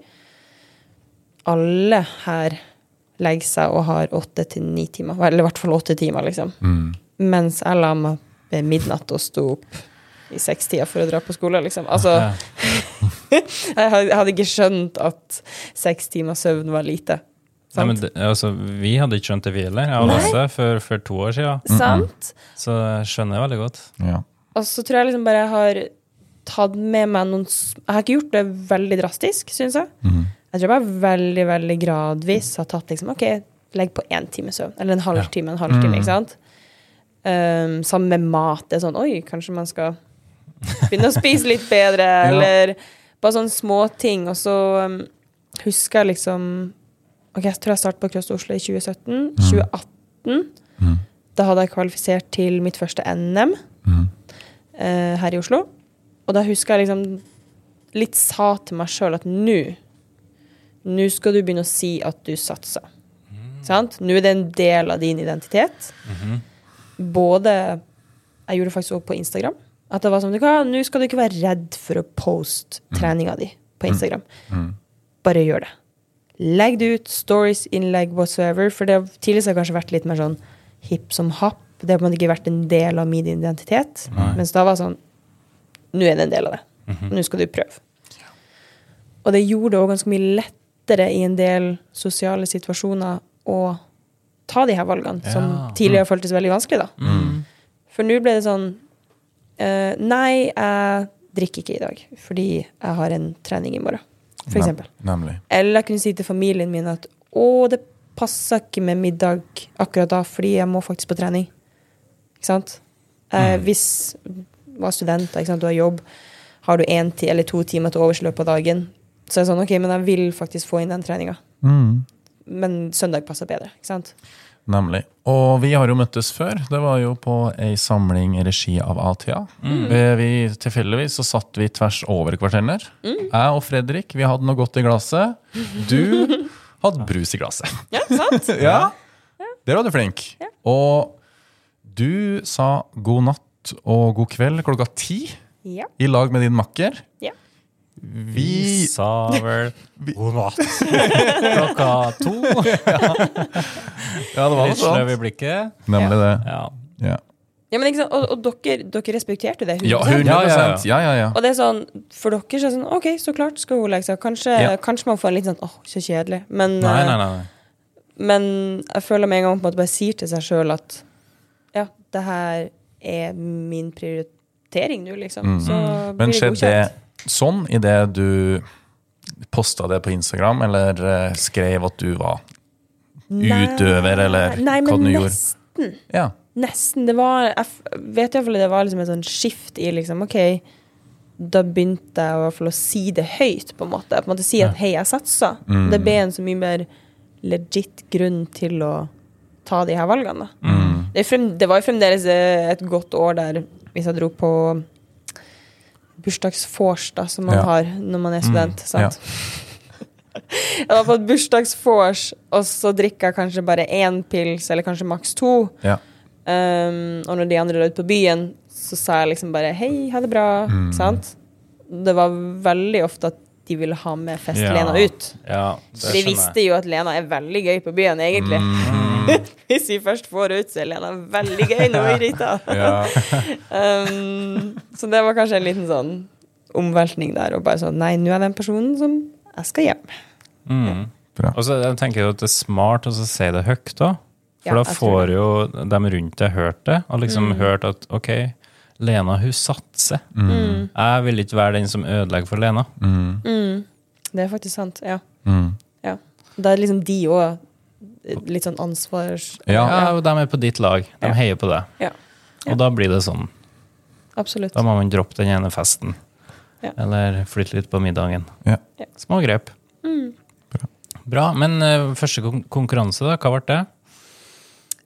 [SPEAKER 2] Alle her legger seg og har åtte til ni timer. Eller i hvert fall åtte timer, liksom.
[SPEAKER 1] Mm.
[SPEAKER 2] Mens jeg la meg ved midnatt og sto opp i sekstida for å dra på skole, liksom. Altså,
[SPEAKER 3] Ja.
[SPEAKER 2] jeg had- jeg hadde ikke skjønt at seks timer søvn var lite. Sant?
[SPEAKER 3] Nei, men det, altså, vi hadde ikke skjønt det, vi heller. Jeg og Lasse for, for to år siden.
[SPEAKER 2] Sant?
[SPEAKER 3] Så jeg skjønner jeg veldig godt.
[SPEAKER 1] Ja.
[SPEAKER 2] Og så tror jeg liksom bare jeg har tatt med meg noen s- Jeg har ikke gjort det veldig drastisk, syns jeg.
[SPEAKER 1] Mm.
[SPEAKER 2] Jeg tror jeg bare veldig, veldig gradvis har tatt liksom OK, legg på én time søvn. Eller en halvtime, en halvtime, ikke sant? Um, sammen med mat. Det er sånn Oi, kanskje man skal begynne å spise litt bedre, eller bare sånne små ting. Og så um, husker jeg liksom Ok, jeg tror jeg startet på Krøst Oslo i 2017. 2018.
[SPEAKER 1] Mm.
[SPEAKER 2] Da hadde jeg kvalifisert til mitt første NM
[SPEAKER 1] Mm.
[SPEAKER 2] eh, her i Oslo. Og da husker jeg liksom litt sa til meg sjøl at nå Nå skal du begynne å si at du satser. Sant? Nå er det en del av din identitet. Både Jeg gjorde det faktisk også på Instagram. At det var sånn, du kan, Nå skal du ikke være redd for å poste treninga di på Instagram.
[SPEAKER 1] Mm.
[SPEAKER 2] Bare gjør det. Legg det ut. Stories, innlegg, whatsoever. For det har tidligere har jeg kanskje vært litt mer sånn hipp som happ. Det har på en måte ikke vært en del av min identitet. Mens da var det sånn Nå er det en del av det. Nå skal du prøve. Og det gjorde det òg ganske mye lettere i en del sosiale situasjoner å ta de her valgene,
[SPEAKER 3] Ja.
[SPEAKER 2] som tidligere føltes veldig vanskelig, da.
[SPEAKER 1] Mm.
[SPEAKER 3] Mm.
[SPEAKER 2] For nå ble det sånn eh, Nei, jeg drikker ikke i dag fordi jeg har en trening i morgen, for
[SPEAKER 1] Nem-
[SPEAKER 2] eksempel.
[SPEAKER 1] Nemlig.
[SPEAKER 2] Eller jeg kunne si til familien min at å, det passer ikke med middag akkurat da, fordi jeg må faktisk på trening. Ikke sant? Eh, hvis du var student, ikke sant? du har jobb, har du én ti eller to timer til overs i løpet av dagen, så er det sånn, ok, men jeg vil faktisk få inn den treninga. Men søndag passer bedre, ikke sant?
[SPEAKER 1] Nemlig. Og vi har jo møttes før. Det var jo på ei samling i regi av ATA. Eh, Vi, tilfeldigvis så satt vi tvers over hverandre. Jeg og Fredrik, vi hadde noe godt i glasset. Du hadde brus i glasset. [LAUGHS]
[SPEAKER 2] Ja, sant?
[SPEAKER 1] Ja. Der var du flink. Og du sa god natt og god kveld klokka ti
[SPEAKER 2] [LAUGHS] ja.
[SPEAKER 1] i lag med din makker.
[SPEAKER 2] ja.
[SPEAKER 1] Vi
[SPEAKER 3] sa vel
[SPEAKER 1] [LAUGHS]
[SPEAKER 3] god natt klokka to.
[SPEAKER 1] Ja, det
[SPEAKER 3] Litt sløv i blikket.
[SPEAKER 1] Nemlig det.
[SPEAKER 3] Ja.
[SPEAKER 1] Ja,
[SPEAKER 2] ja men ikke sant? Og, og dere, dere respekterte det?
[SPEAKER 1] ja
[SPEAKER 2] 100%.
[SPEAKER 1] 100 Ja, ja, ja.
[SPEAKER 2] Og det er sånn, for dere så er det sånn, ok, så klart skal hun legge seg. Kanskje,
[SPEAKER 1] Ja.
[SPEAKER 2] kanskje man får en litt sånn, åh, så kjedelig. Men,
[SPEAKER 3] Nei,
[SPEAKER 2] eh,
[SPEAKER 3] nei, nei.
[SPEAKER 2] Men jeg føler med en gang på en måte bare sier til seg sjøl at ja, det her er min prioritering nå, liksom. Så
[SPEAKER 1] Mm. Men
[SPEAKER 2] blir det
[SPEAKER 1] skjedde
[SPEAKER 2] godkjent.
[SPEAKER 1] det sånn idet du posta det på Instagram, eller eh, skrev at du var utøver, eller
[SPEAKER 2] Nei,
[SPEAKER 1] hva
[SPEAKER 2] men
[SPEAKER 1] du gjorde?
[SPEAKER 2] nesten.
[SPEAKER 1] Ja.
[SPEAKER 2] Nesten. Det var Jeg f- vet iallfall det var liksom et sånn skift i liksom OK, da begynte
[SPEAKER 1] Mm.
[SPEAKER 2] jeg i hvert fall å si det høyt, på en måte. På en måte Si at hei, jeg satsa. Det ble en så mye mer legit grunn til å ta de her valgene. Da.
[SPEAKER 1] Mm.
[SPEAKER 2] Det, er frem, det var jo fremdeles eh, et godt år der hvis jeg dro på bursdagsvors, da, som man
[SPEAKER 1] Ja. Mm.
[SPEAKER 2] har når man er student.
[SPEAKER 1] ja.
[SPEAKER 2] Sant? [LAUGHS] jeg var på et bursdagsvors, og så drikka jeg kanskje bare én pils, eller kanskje maks to.
[SPEAKER 1] Ja.
[SPEAKER 2] Um, og når de andre la ut på byen, så sa jeg liksom bare hei, ha det bra.
[SPEAKER 3] Mm.
[SPEAKER 2] Ikke sant? Det var veldig ofte at de ville ha med fest-Lena
[SPEAKER 3] Ja.
[SPEAKER 2] ut.
[SPEAKER 3] Ja,
[SPEAKER 2] For de visste jo at Lena er veldig gøy på byen, egentlig.
[SPEAKER 3] Mhm.
[SPEAKER 2] [LAUGHS] Hvis vi først får ut, så er Lena veldig gøy når hun er
[SPEAKER 3] [LAUGHS]
[SPEAKER 2] drita.
[SPEAKER 1] Ja.
[SPEAKER 2] Um, så det var kanskje en liten sånn omveltning der, og bare sånn nei, nå er den personen som jeg skal hjem.
[SPEAKER 3] Mm.
[SPEAKER 1] Bra.
[SPEAKER 3] Og så jeg tenker jeg at det er smart å så si det høyt, da. For
[SPEAKER 2] Ja,
[SPEAKER 3] da
[SPEAKER 2] jeg tror Mm.
[SPEAKER 3] får jo de rundt deg hørt det, og liksom hørt at OK, Lena, hun satser.
[SPEAKER 2] Mm.
[SPEAKER 3] Jeg vil ikke være den som ødelegger for Lena.
[SPEAKER 1] Mm.
[SPEAKER 2] Det er faktisk sant, ja.
[SPEAKER 1] Mm.
[SPEAKER 2] ja. Da er liksom de òg litt sånn ansvars...
[SPEAKER 1] Ja.
[SPEAKER 3] Ja, og De er på ditt lag. De
[SPEAKER 2] Ja.
[SPEAKER 3] heier på deg.
[SPEAKER 2] Ja. Ja.
[SPEAKER 3] Og da blir det sånn.
[SPEAKER 2] Absolutt.
[SPEAKER 3] Da må man droppe den ene festen.
[SPEAKER 2] Ja.
[SPEAKER 3] Eller flytte litt på middagen.
[SPEAKER 1] Ja.
[SPEAKER 2] Ja. Mm.
[SPEAKER 3] Små grep.
[SPEAKER 1] Bra.
[SPEAKER 3] Bra. Men eh, første kon konkurranse, da? Hva ble det?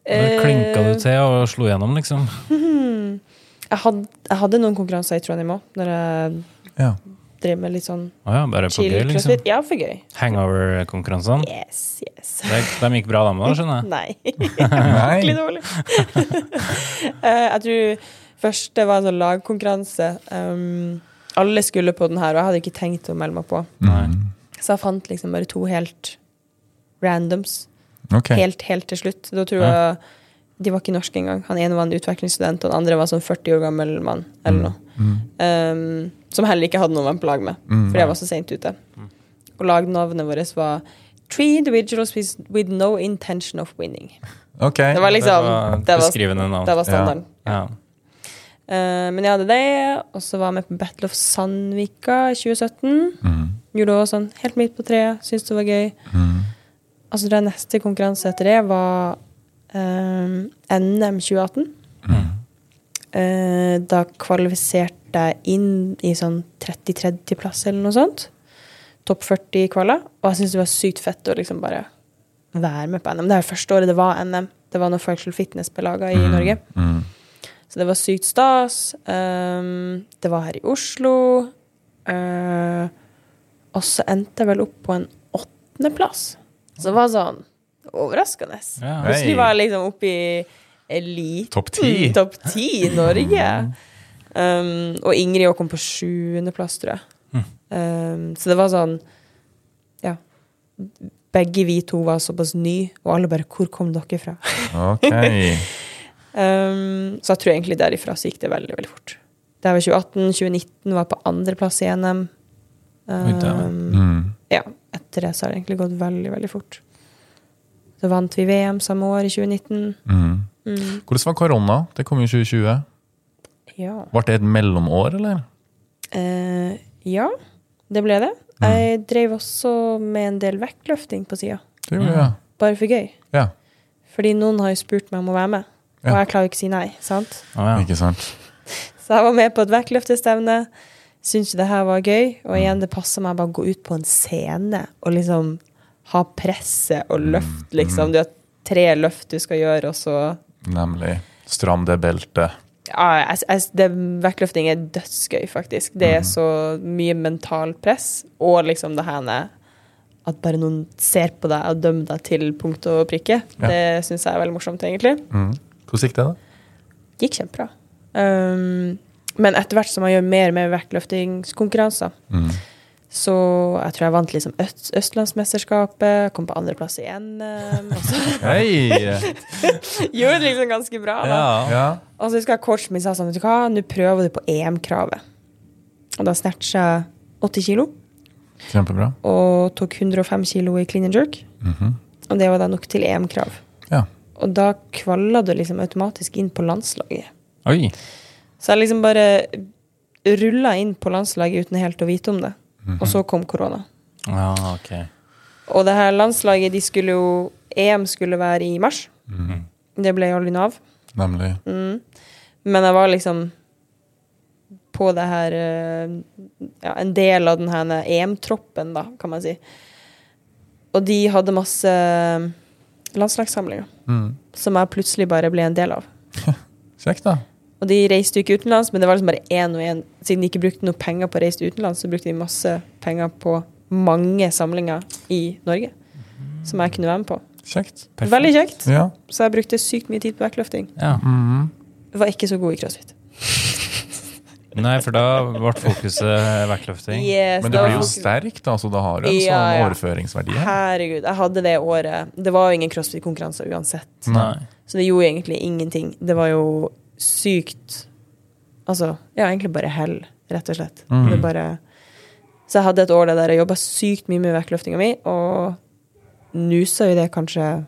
[SPEAKER 2] Eh,
[SPEAKER 3] Eller klinka du til og slo gjennom, liksom?
[SPEAKER 2] mhm. Jeg hadde, jeg hadde noen konkurranser i Trondheim òg, når jeg
[SPEAKER 1] Ja.
[SPEAKER 2] drev med litt sånn
[SPEAKER 3] Å ja, bare på
[SPEAKER 2] chill
[SPEAKER 3] gøy, liksom? Mm.
[SPEAKER 2] crossfit. Ja, for gøy.
[SPEAKER 3] Hangover-konkurransene?
[SPEAKER 2] Yes, yes.
[SPEAKER 3] De, de gikk bra, de da, skjønner jeg?
[SPEAKER 2] Nei.
[SPEAKER 1] Nei.
[SPEAKER 2] Skikkelig
[SPEAKER 3] [LAUGHS]
[SPEAKER 2] dårlig. Eh, jeg tror først det var en sånn lagkonkurranse. Um, alle skulle på den her, og jeg hadde ikke tenkt å melde meg på.
[SPEAKER 3] Nei.
[SPEAKER 1] Mm.
[SPEAKER 2] Så jeg fant liksom bare to helt randoms.
[SPEAKER 1] Ok.
[SPEAKER 2] Helt, helt til slutt. Da tror jeg De var ikke norske engang. Han ene var en utvekslingsstudent, og den andre var sånn 40 år gammel mann.
[SPEAKER 1] Mm.
[SPEAKER 2] Eller noe. Um, som heller ikke hadde noen på lag med,
[SPEAKER 1] Mm,
[SPEAKER 2] fordi jeg var så seint ute.
[SPEAKER 3] Mm.
[SPEAKER 2] Og lagnavnet vårt var Three individuals with, with no intention of winning.
[SPEAKER 1] Ok.
[SPEAKER 2] Det var liksom
[SPEAKER 3] Det var
[SPEAKER 2] det var-
[SPEAKER 3] beskrivende navn.
[SPEAKER 2] Det var standarden.
[SPEAKER 3] Ja.
[SPEAKER 2] Eh, men jeg hadde det, og så var jeg med på Battle of Sandvika i 2017.
[SPEAKER 1] Mm.
[SPEAKER 2] Gjorde det også sånn helt midt på treet, syntes det var gøy.
[SPEAKER 1] Mm.
[SPEAKER 2] Altså, den neste konkurranse etter det var eh, NM 2018.
[SPEAKER 1] Mm.
[SPEAKER 2] Eh, da kvalifiserte jeg inn i sånn 30-30-plass eller noe sånt. Topp 40 kvala. Og jeg syntes det var sykt fett å liksom bare være med på NM. Det er første året det var NM. Det var når Functional Fitness ble laga i Norge.
[SPEAKER 1] Mm.
[SPEAKER 2] Så det var sykt stas. Ehm, det var her i Oslo. Eh, og så endte jeg vel opp på en åttendeplass. Så det var sånn overraskende.
[SPEAKER 3] Ja.
[SPEAKER 1] Hei.
[SPEAKER 2] Plutselig var jeg liksom oppe i eliten.
[SPEAKER 1] Topp ti.
[SPEAKER 2] Topp ti i Norge. Ehm, og Ingrid også kom på sjuendeplass, tror jeg.
[SPEAKER 1] Hm.
[SPEAKER 2] Ehm, så det var sånn Ja. Begge vi to var såpass nye, og alle bare 'Hvor kom dere fra?'
[SPEAKER 1] Ok.
[SPEAKER 2] Um, så jeg tror egentlig derifra så gikk det veldig, veldig fort. Det her var 2018. 2019 var på andreplass i NM.
[SPEAKER 3] Oi, dæven.
[SPEAKER 2] Um,
[SPEAKER 1] Mm.
[SPEAKER 2] ja, etter det så har det egentlig gått veldig, veldig fort. Så vant vi VM samme år, i 2019.
[SPEAKER 1] Mm.
[SPEAKER 2] Mm.
[SPEAKER 1] Hvordan var korona? Det kom jo i 2020.
[SPEAKER 2] Ja.
[SPEAKER 1] Ble det et mellomår, eller?
[SPEAKER 2] Eh, ja, det ble det. Jeg drev også med en del vektløfting på sida,
[SPEAKER 1] Det gjorde jeg.
[SPEAKER 2] bare for gøy.
[SPEAKER 1] Ja.
[SPEAKER 2] Fordi noen har jo spurt meg om å være med, og
[SPEAKER 1] Ja.
[SPEAKER 2] jeg klarer jo ikke å si nei. sant?
[SPEAKER 3] Å, ja.
[SPEAKER 1] Ikke sant?
[SPEAKER 2] Så jeg var med på et vektløftestevne. Syntes det her var gøy. Og igjen, det passer meg bare å gå ut på en scene og liksom ha presset og løft, liksom. Du har tre løft du skal gjøre, og så
[SPEAKER 1] Nemlig. Stram det beltet.
[SPEAKER 2] ja, jeg, jeg, det, Vektløfting er dødsgøy, faktisk. Det er så mye mentalt press, og liksom det her med at bare noen ser på deg og dømmer deg til punkt og prikke.
[SPEAKER 1] Ja.
[SPEAKER 2] Det syns jeg er veldig morsomt, egentlig.
[SPEAKER 1] Mm. Hvordan gikk det, da?
[SPEAKER 2] gikk kjempebra. Um, men etter hvert som jeg gjør mer og mer vektløftingskonkurranser,
[SPEAKER 1] Mm.
[SPEAKER 2] så jeg tror jeg vant liksom Øst Østlandsmesterskapet, kom på andreplass i NM, eh, og så [LAUGHS]
[SPEAKER 1] Hei!
[SPEAKER 2] gjorde det liksom ganske bra. Da.
[SPEAKER 3] Ja.
[SPEAKER 1] Ja.
[SPEAKER 2] Og så husker jeg coachen min sa sånn, vet du hva, nå prøver du på EM-kravet. Og da snatcha jeg 80 kilo,
[SPEAKER 1] Kjempebra.
[SPEAKER 2] og tok 105 kilo i clean and jerk.
[SPEAKER 1] Mhm.
[SPEAKER 2] Og det var da nok til EM-krav.
[SPEAKER 1] Ja.
[SPEAKER 2] Og da kvalla du liksom automatisk inn på landslaget.
[SPEAKER 3] Oi.
[SPEAKER 2] Så jeg liksom bare rulla inn på landslaget uten helt å vite om det. Og så kom korona.
[SPEAKER 3] Ja, ok.
[SPEAKER 2] Og det her landslaget, de skulle jo EM skulle være i mars. Det ble jo aldri noe av. Mhm.
[SPEAKER 1] Nemlig.
[SPEAKER 2] Men jeg var liksom på det her eh, ja, En del av den her EM-troppen, da, kan man si. Og de hadde masse eh, landslagssamlinger
[SPEAKER 1] Mm.
[SPEAKER 2] som jeg plutselig bare ble en del av.
[SPEAKER 1] Kjekt, da.
[SPEAKER 2] Og de reiste jo ikke utenlands, men det var liksom bare én og én. Siden de ikke brukte noe penger på å reise utenlands, så brukte de masse penger på mange samlinger i Norge. Som jeg kunne være med på.
[SPEAKER 1] Kjekt.
[SPEAKER 2] Veldig kjekt.
[SPEAKER 1] Ja.
[SPEAKER 2] Så jeg brukte sykt mye tid på vektløfting.
[SPEAKER 3] Ja.
[SPEAKER 1] Mhm.
[SPEAKER 2] Var ikke så god i crossfit.
[SPEAKER 3] Nei, for da ble fokuset vektløfting.
[SPEAKER 2] Yes,
[SPEAKER 1] Men du
[SPEAKER 2] det var
[SPEAKER 1] blir jo
[SPEAKER 2] fokus-
[SPEAKER 1] sterk, da, så da har du en
[SPEAKER 2] Ja,
[SPEAKER 1] sånn
[SPEAKER 2] ja.
[SPEAKER 1] overføringsverdi. her.
[SPEAKER 2] Herregud, jeg hadde det året. Det var jo ingen crossfit-konkurranse uansett.
[SPEAKER 3] Nei.
[SPEAKER 2] Så det gjorde egentlig ingenting. Det var jo sykt Altså, ja, egentlig bare hell, rett og slett.
[SPEAKER 1] Mm.
[SPEAKER 2] Det bare Så jeg hadde et år der jeg jobba sykt mye med vektløftinga mi, og nusa jo det kanskje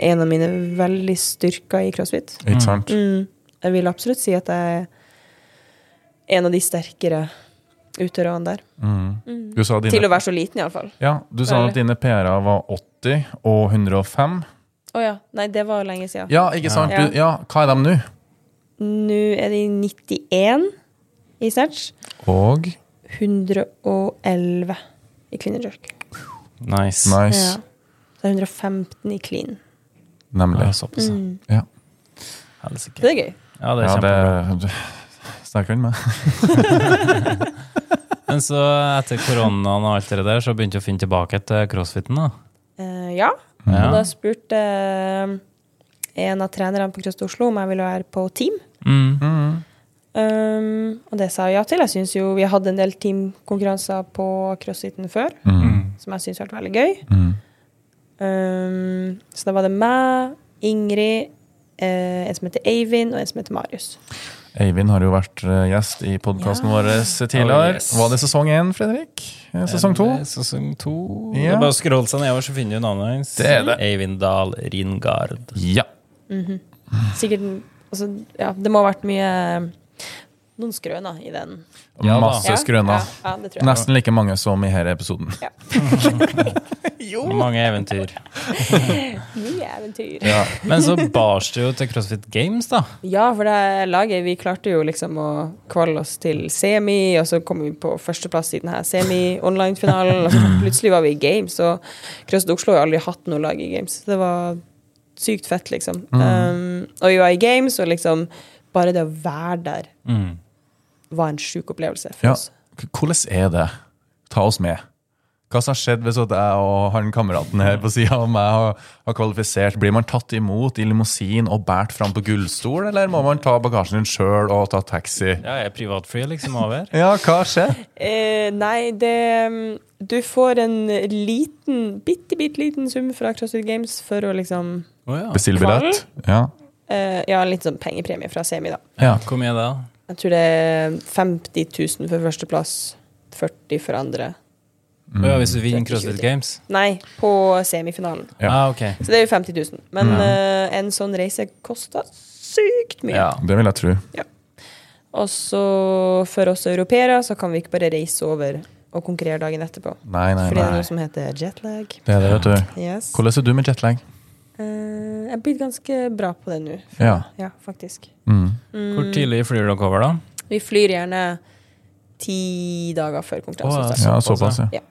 [SPEAKER 2] en av mine veldig styrker i crossfit.
[SPEAKER 1] Ikke sant?
[SPEAKER 2] Mm. Jeg vil absolutt si at jeg er en av de sterkere utøverne der.
[SPEAKER 1] Mhm. Du sa dine,
[SPEAKER 2] Mm. Til å være så liten, iallfall.
[SPEAKER 1] ja, du sa at dine PR-er var 80 og 105.
[SPEAKER 2] Å ja. Nei, det var lenge siden.
[SPEAKER 1] Ja, ikke sant?
[SPEAKER 2] Ja.
[SPEAKER 1] Du, ja, hva er de nå?
[SPEAKER 2] Nå er de 91 i snatch.
[SPEAKER 1] Og
[SPEAKER 2] 111 i clean and jerk.
[SPEAKER 3] Nice.
[SPEAKER 1] Nice.
[SPEAKER 2] Ja. Så er 115 i clean.
[SPEAKER 3] Ja,
[SPEAKER 1] Nemlig.
[SPEAKER 3] såpass.
[SPEAKER 2] Mm.
[SPEAKER 1] Ja.
[SPEAKER 3] Helsike.
[SPEAKER 2] Så det er gøy.
[SPEAKER 3] Ja, det er
[SPEAKER 1] Ja,
[SPEAKER 3] kjempebra.
[SPEAKER 1] det snakker han med.
[SPEAKER 3] Men så etter koronaen og alt det der, så begynte jeg å finne tilbake til crossfiten, da.
[SPEAKER 2] Eh, ja. Og
[SPEAKER 3] Mhm. Ja.
[SPEAKER 2] da spurte eh, en av trenerne på Krøst Oslo om jeg ville være på team.
[SPEAKER 3] Mm.
[SPEAKER 1] Mhm.
[SPEAKER 2] Um, og det sa jeg ja til. Jeg synes jo Vi hadde en del teamkonkurranser på crossfiten før,
[SPEAKER 1] Mhm.
[SPEAKER 2] som jeg syns har vært veldig gøy.
[SPEAKER 1] Mhm.
[SPEAKER 2] Um, så da var det meg, Ingrid, eh, en som heter Eivind, og en som heter Marius.
[SPEAKER 1] Eivind har jo vært eh, gjest i podkasten
[SPEAKER 2] Ja.
[SPEAKER 1] vår eh, tidligere.
[SPEAKER 3] Oh, yes.
[SPEAKER 1] Var det sesong én, Fredrik? Eh, Sesong to?
[SPEAKER 3] Eh, Sesong to.
[SPEAKER 1] Ja.
[SPEAKER 3] Det er bare å scrolle seg nedover, så finner du navnet hans.
[SPEAKER 1] Det er det.
[SPEAKER 3] Eivind Dahl Ringard.
[SPEAKER 1] Ja.
[SPEAKER 2] Sikkert altså, Ja, det må ha vært mye eh, Noen skrøner i den.
[SPEAKER 3] Ja da.
[SPEAKER 1] Masse
[SPEAKER 2] Ja,
[SPEAKER 1] Altså skrøner.
[SPEAKER 2] Ja, ja, det tror jeg.
[SPEAKER 1] Nesten like mange som i denne episoden.
[SPEAKER 3] Mange eventyr.
[SPEAKER 2] Mye eventyr.
[SPEAKER 1] Ja.
[SPEAKER 3] Men så bars det jo til CrossFit Games, da.
[SPEAKER 2] Ja, for det laget Vi klarte jo liksom å kvalle oss til semi, og så kom vi på førsteplass i denne semi-online-finalen. Og så plutselig var vi i games, og Krøst Oslo har jo aldri hatt noe lag i games. Det var sykt fett, liksom. Um, og vi var i games, og liksom bare det å være der
[SPEAKER 3] Mm.
[SPEAKER 2] var en sjuk opplevelse for
[SPEAKER 1] Ja.
[SPEAKER 2] oss.
[SPEAKER 1] K- Hvordan er det? Ta oss med. Hva som har skjedd hvis at jeg og han kameraten her på sida av meg har, har kvalifisert? Blir man tatt imot i limousin og båret fram på gullstol, eller må man ta bagasjen din sjøl og ta taxi?
[SPEAKER 3] Ja, jeg er privatfly liksom over.
[SPEAKER 1] Ja, hva skjer?
[SPEAKER 2] Eh, nei, det mm, Du får en liten, bitte, bitte liten sum fra CrossFit Games for å liksom
[SPEAKER 3] Å ja.
[SPEAKER 1] Bestill billett? Ja.
[SPEAKER 2] eh, Ja, en liten sånn pengepremie fra semi, da.
[SPEAKER 1] ja.
[SPEAKER 3] Hvor mye da?
[SPEAKER 2] Jeg tror det er 50 000 for førsteplass, 40 for andre.
[SPEAKER 1] Mm.
[SPEAKER 3] Å ja, hvis du vinner
[SPEAKER 2] Det er ikke det.
[SPEAKER 3] CrossFit Games?
[SPEAKER 2] Nei, på semifinalen.
[SPEAKER 1] Ja.
[SPEAKER 3] Ah, ok.
[SPEAKER 2] Så det er jo 50 000. Men eh, en sånn reise kosta sykt mye.
[SPEAKER 3] Ja.
[SPEAKER 1] Det vil jeg tro.
[SPEAKER 2] Og så for oss europeere så kan vi ikke bare reise over og konkurrere dagen etterpå.
[SPEAKER 1] Nei, nei,
[SPEAKER 2] Fordi det er
[SPEAKER 1] nei.
[SPEAKER 2] noe som heter jetlag.
[SPEAKER 1] Det er det, vet du.
[SPEAKER 2] Yes.
[SPEAKER 1] Hvordan er du med jetlag?
[SPEAKER 2] Eh, jeg er blitt ganske bra på det nå.
[SPEAKER 1] Ja.
[SPEAKER 2] Ja, faktisk.
[SPEAKER 1] Mm.
[SPEAKER 3] Hvor tidlig flyr dere over, da?
[SPEAKER 2] Vi flyr gjerne ti dager før konkurransen.
[SPEAKER 3] Å,
[SPEAKER 2] starter.
[SPEAKER 1] ja,
[SPEAKER 3] Såpass,
[SPEAKER 1] såpass, ja.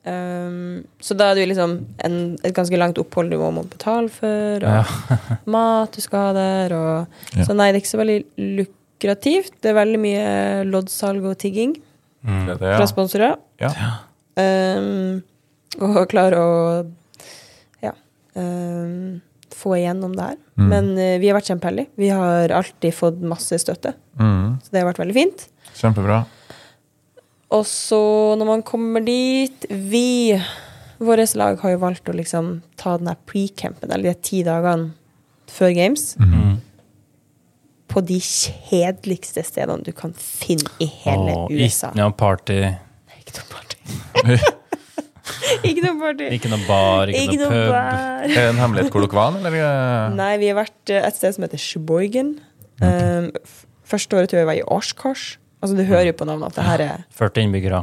[SPEAKER 2] Um, så da er det jo liksom en, et ganske langt opphold du må må betale for, og
[SPEAKER 3] Ja.
[SPEAKER 2] [LAUGHS] mat du skal ha der, og
[SPEAKER 1] Ja.
[SPEAKER 2] Så nei, det er ikke så veldig lukrativt. Det er veldig mye loddsalg og tigging
[SPEAKER 1] Det er
[SPEAKER 3] Mm.
[SPEAKER 1] det,
[SPEAKER 2] fra
[SPEAKER 1] ja.
[SPEAKER 2] sponsorer.
[SPEAKER 1] Ja.
[SPEAKER 2] Um, og [LAUGHS] klare å ja um, få igjennom det her.
[SPEAKER 1] Mm.
[SPEAKER 2] Men eh, vi har vært kjempeheldige. Vi har alltid fått masse støtte,
[SPEAKER 1] Mm.
[SPEAKER 2] så det har vært veldig fint.
[SPEAKER 1] Kjempebra.
[SPEAKER 2] Og så når man kommer dit Vi, vårt lag, har jo valgt å liksom ta den her pre-campen, eller de her ti dagene før games,
[SPEAKER 3] Mm.
[SPEAKER 2] på de kjedeligste stedene du kan finne i hele
[SPEAKER 3] Å,
[SPEAKER 2] USA.
[SPEAKER 3] Ikke noe party,
[SPEAKER 2] Ikke noe party. [LAUGHS] ikke noe party.
[SPEAKER 3] ikke noe bar, ikke,
[SPEAKER 2] Ikke noe
[SPEAKER 3] noe pub.
[SPEAKER 2] bar.
[SPEAKER 1] Er det en hemmelighet hvor dere var, eller?
[SPEAKER 2] Nei, vi har vært eh, et sted som heter Sheboygan. Um, f- første året tror jeg vi var i Oshkosh. Altså, du hører jo på navnet at det her [LAUGHS] er
[SPEAKER 3] 40 innbyggere.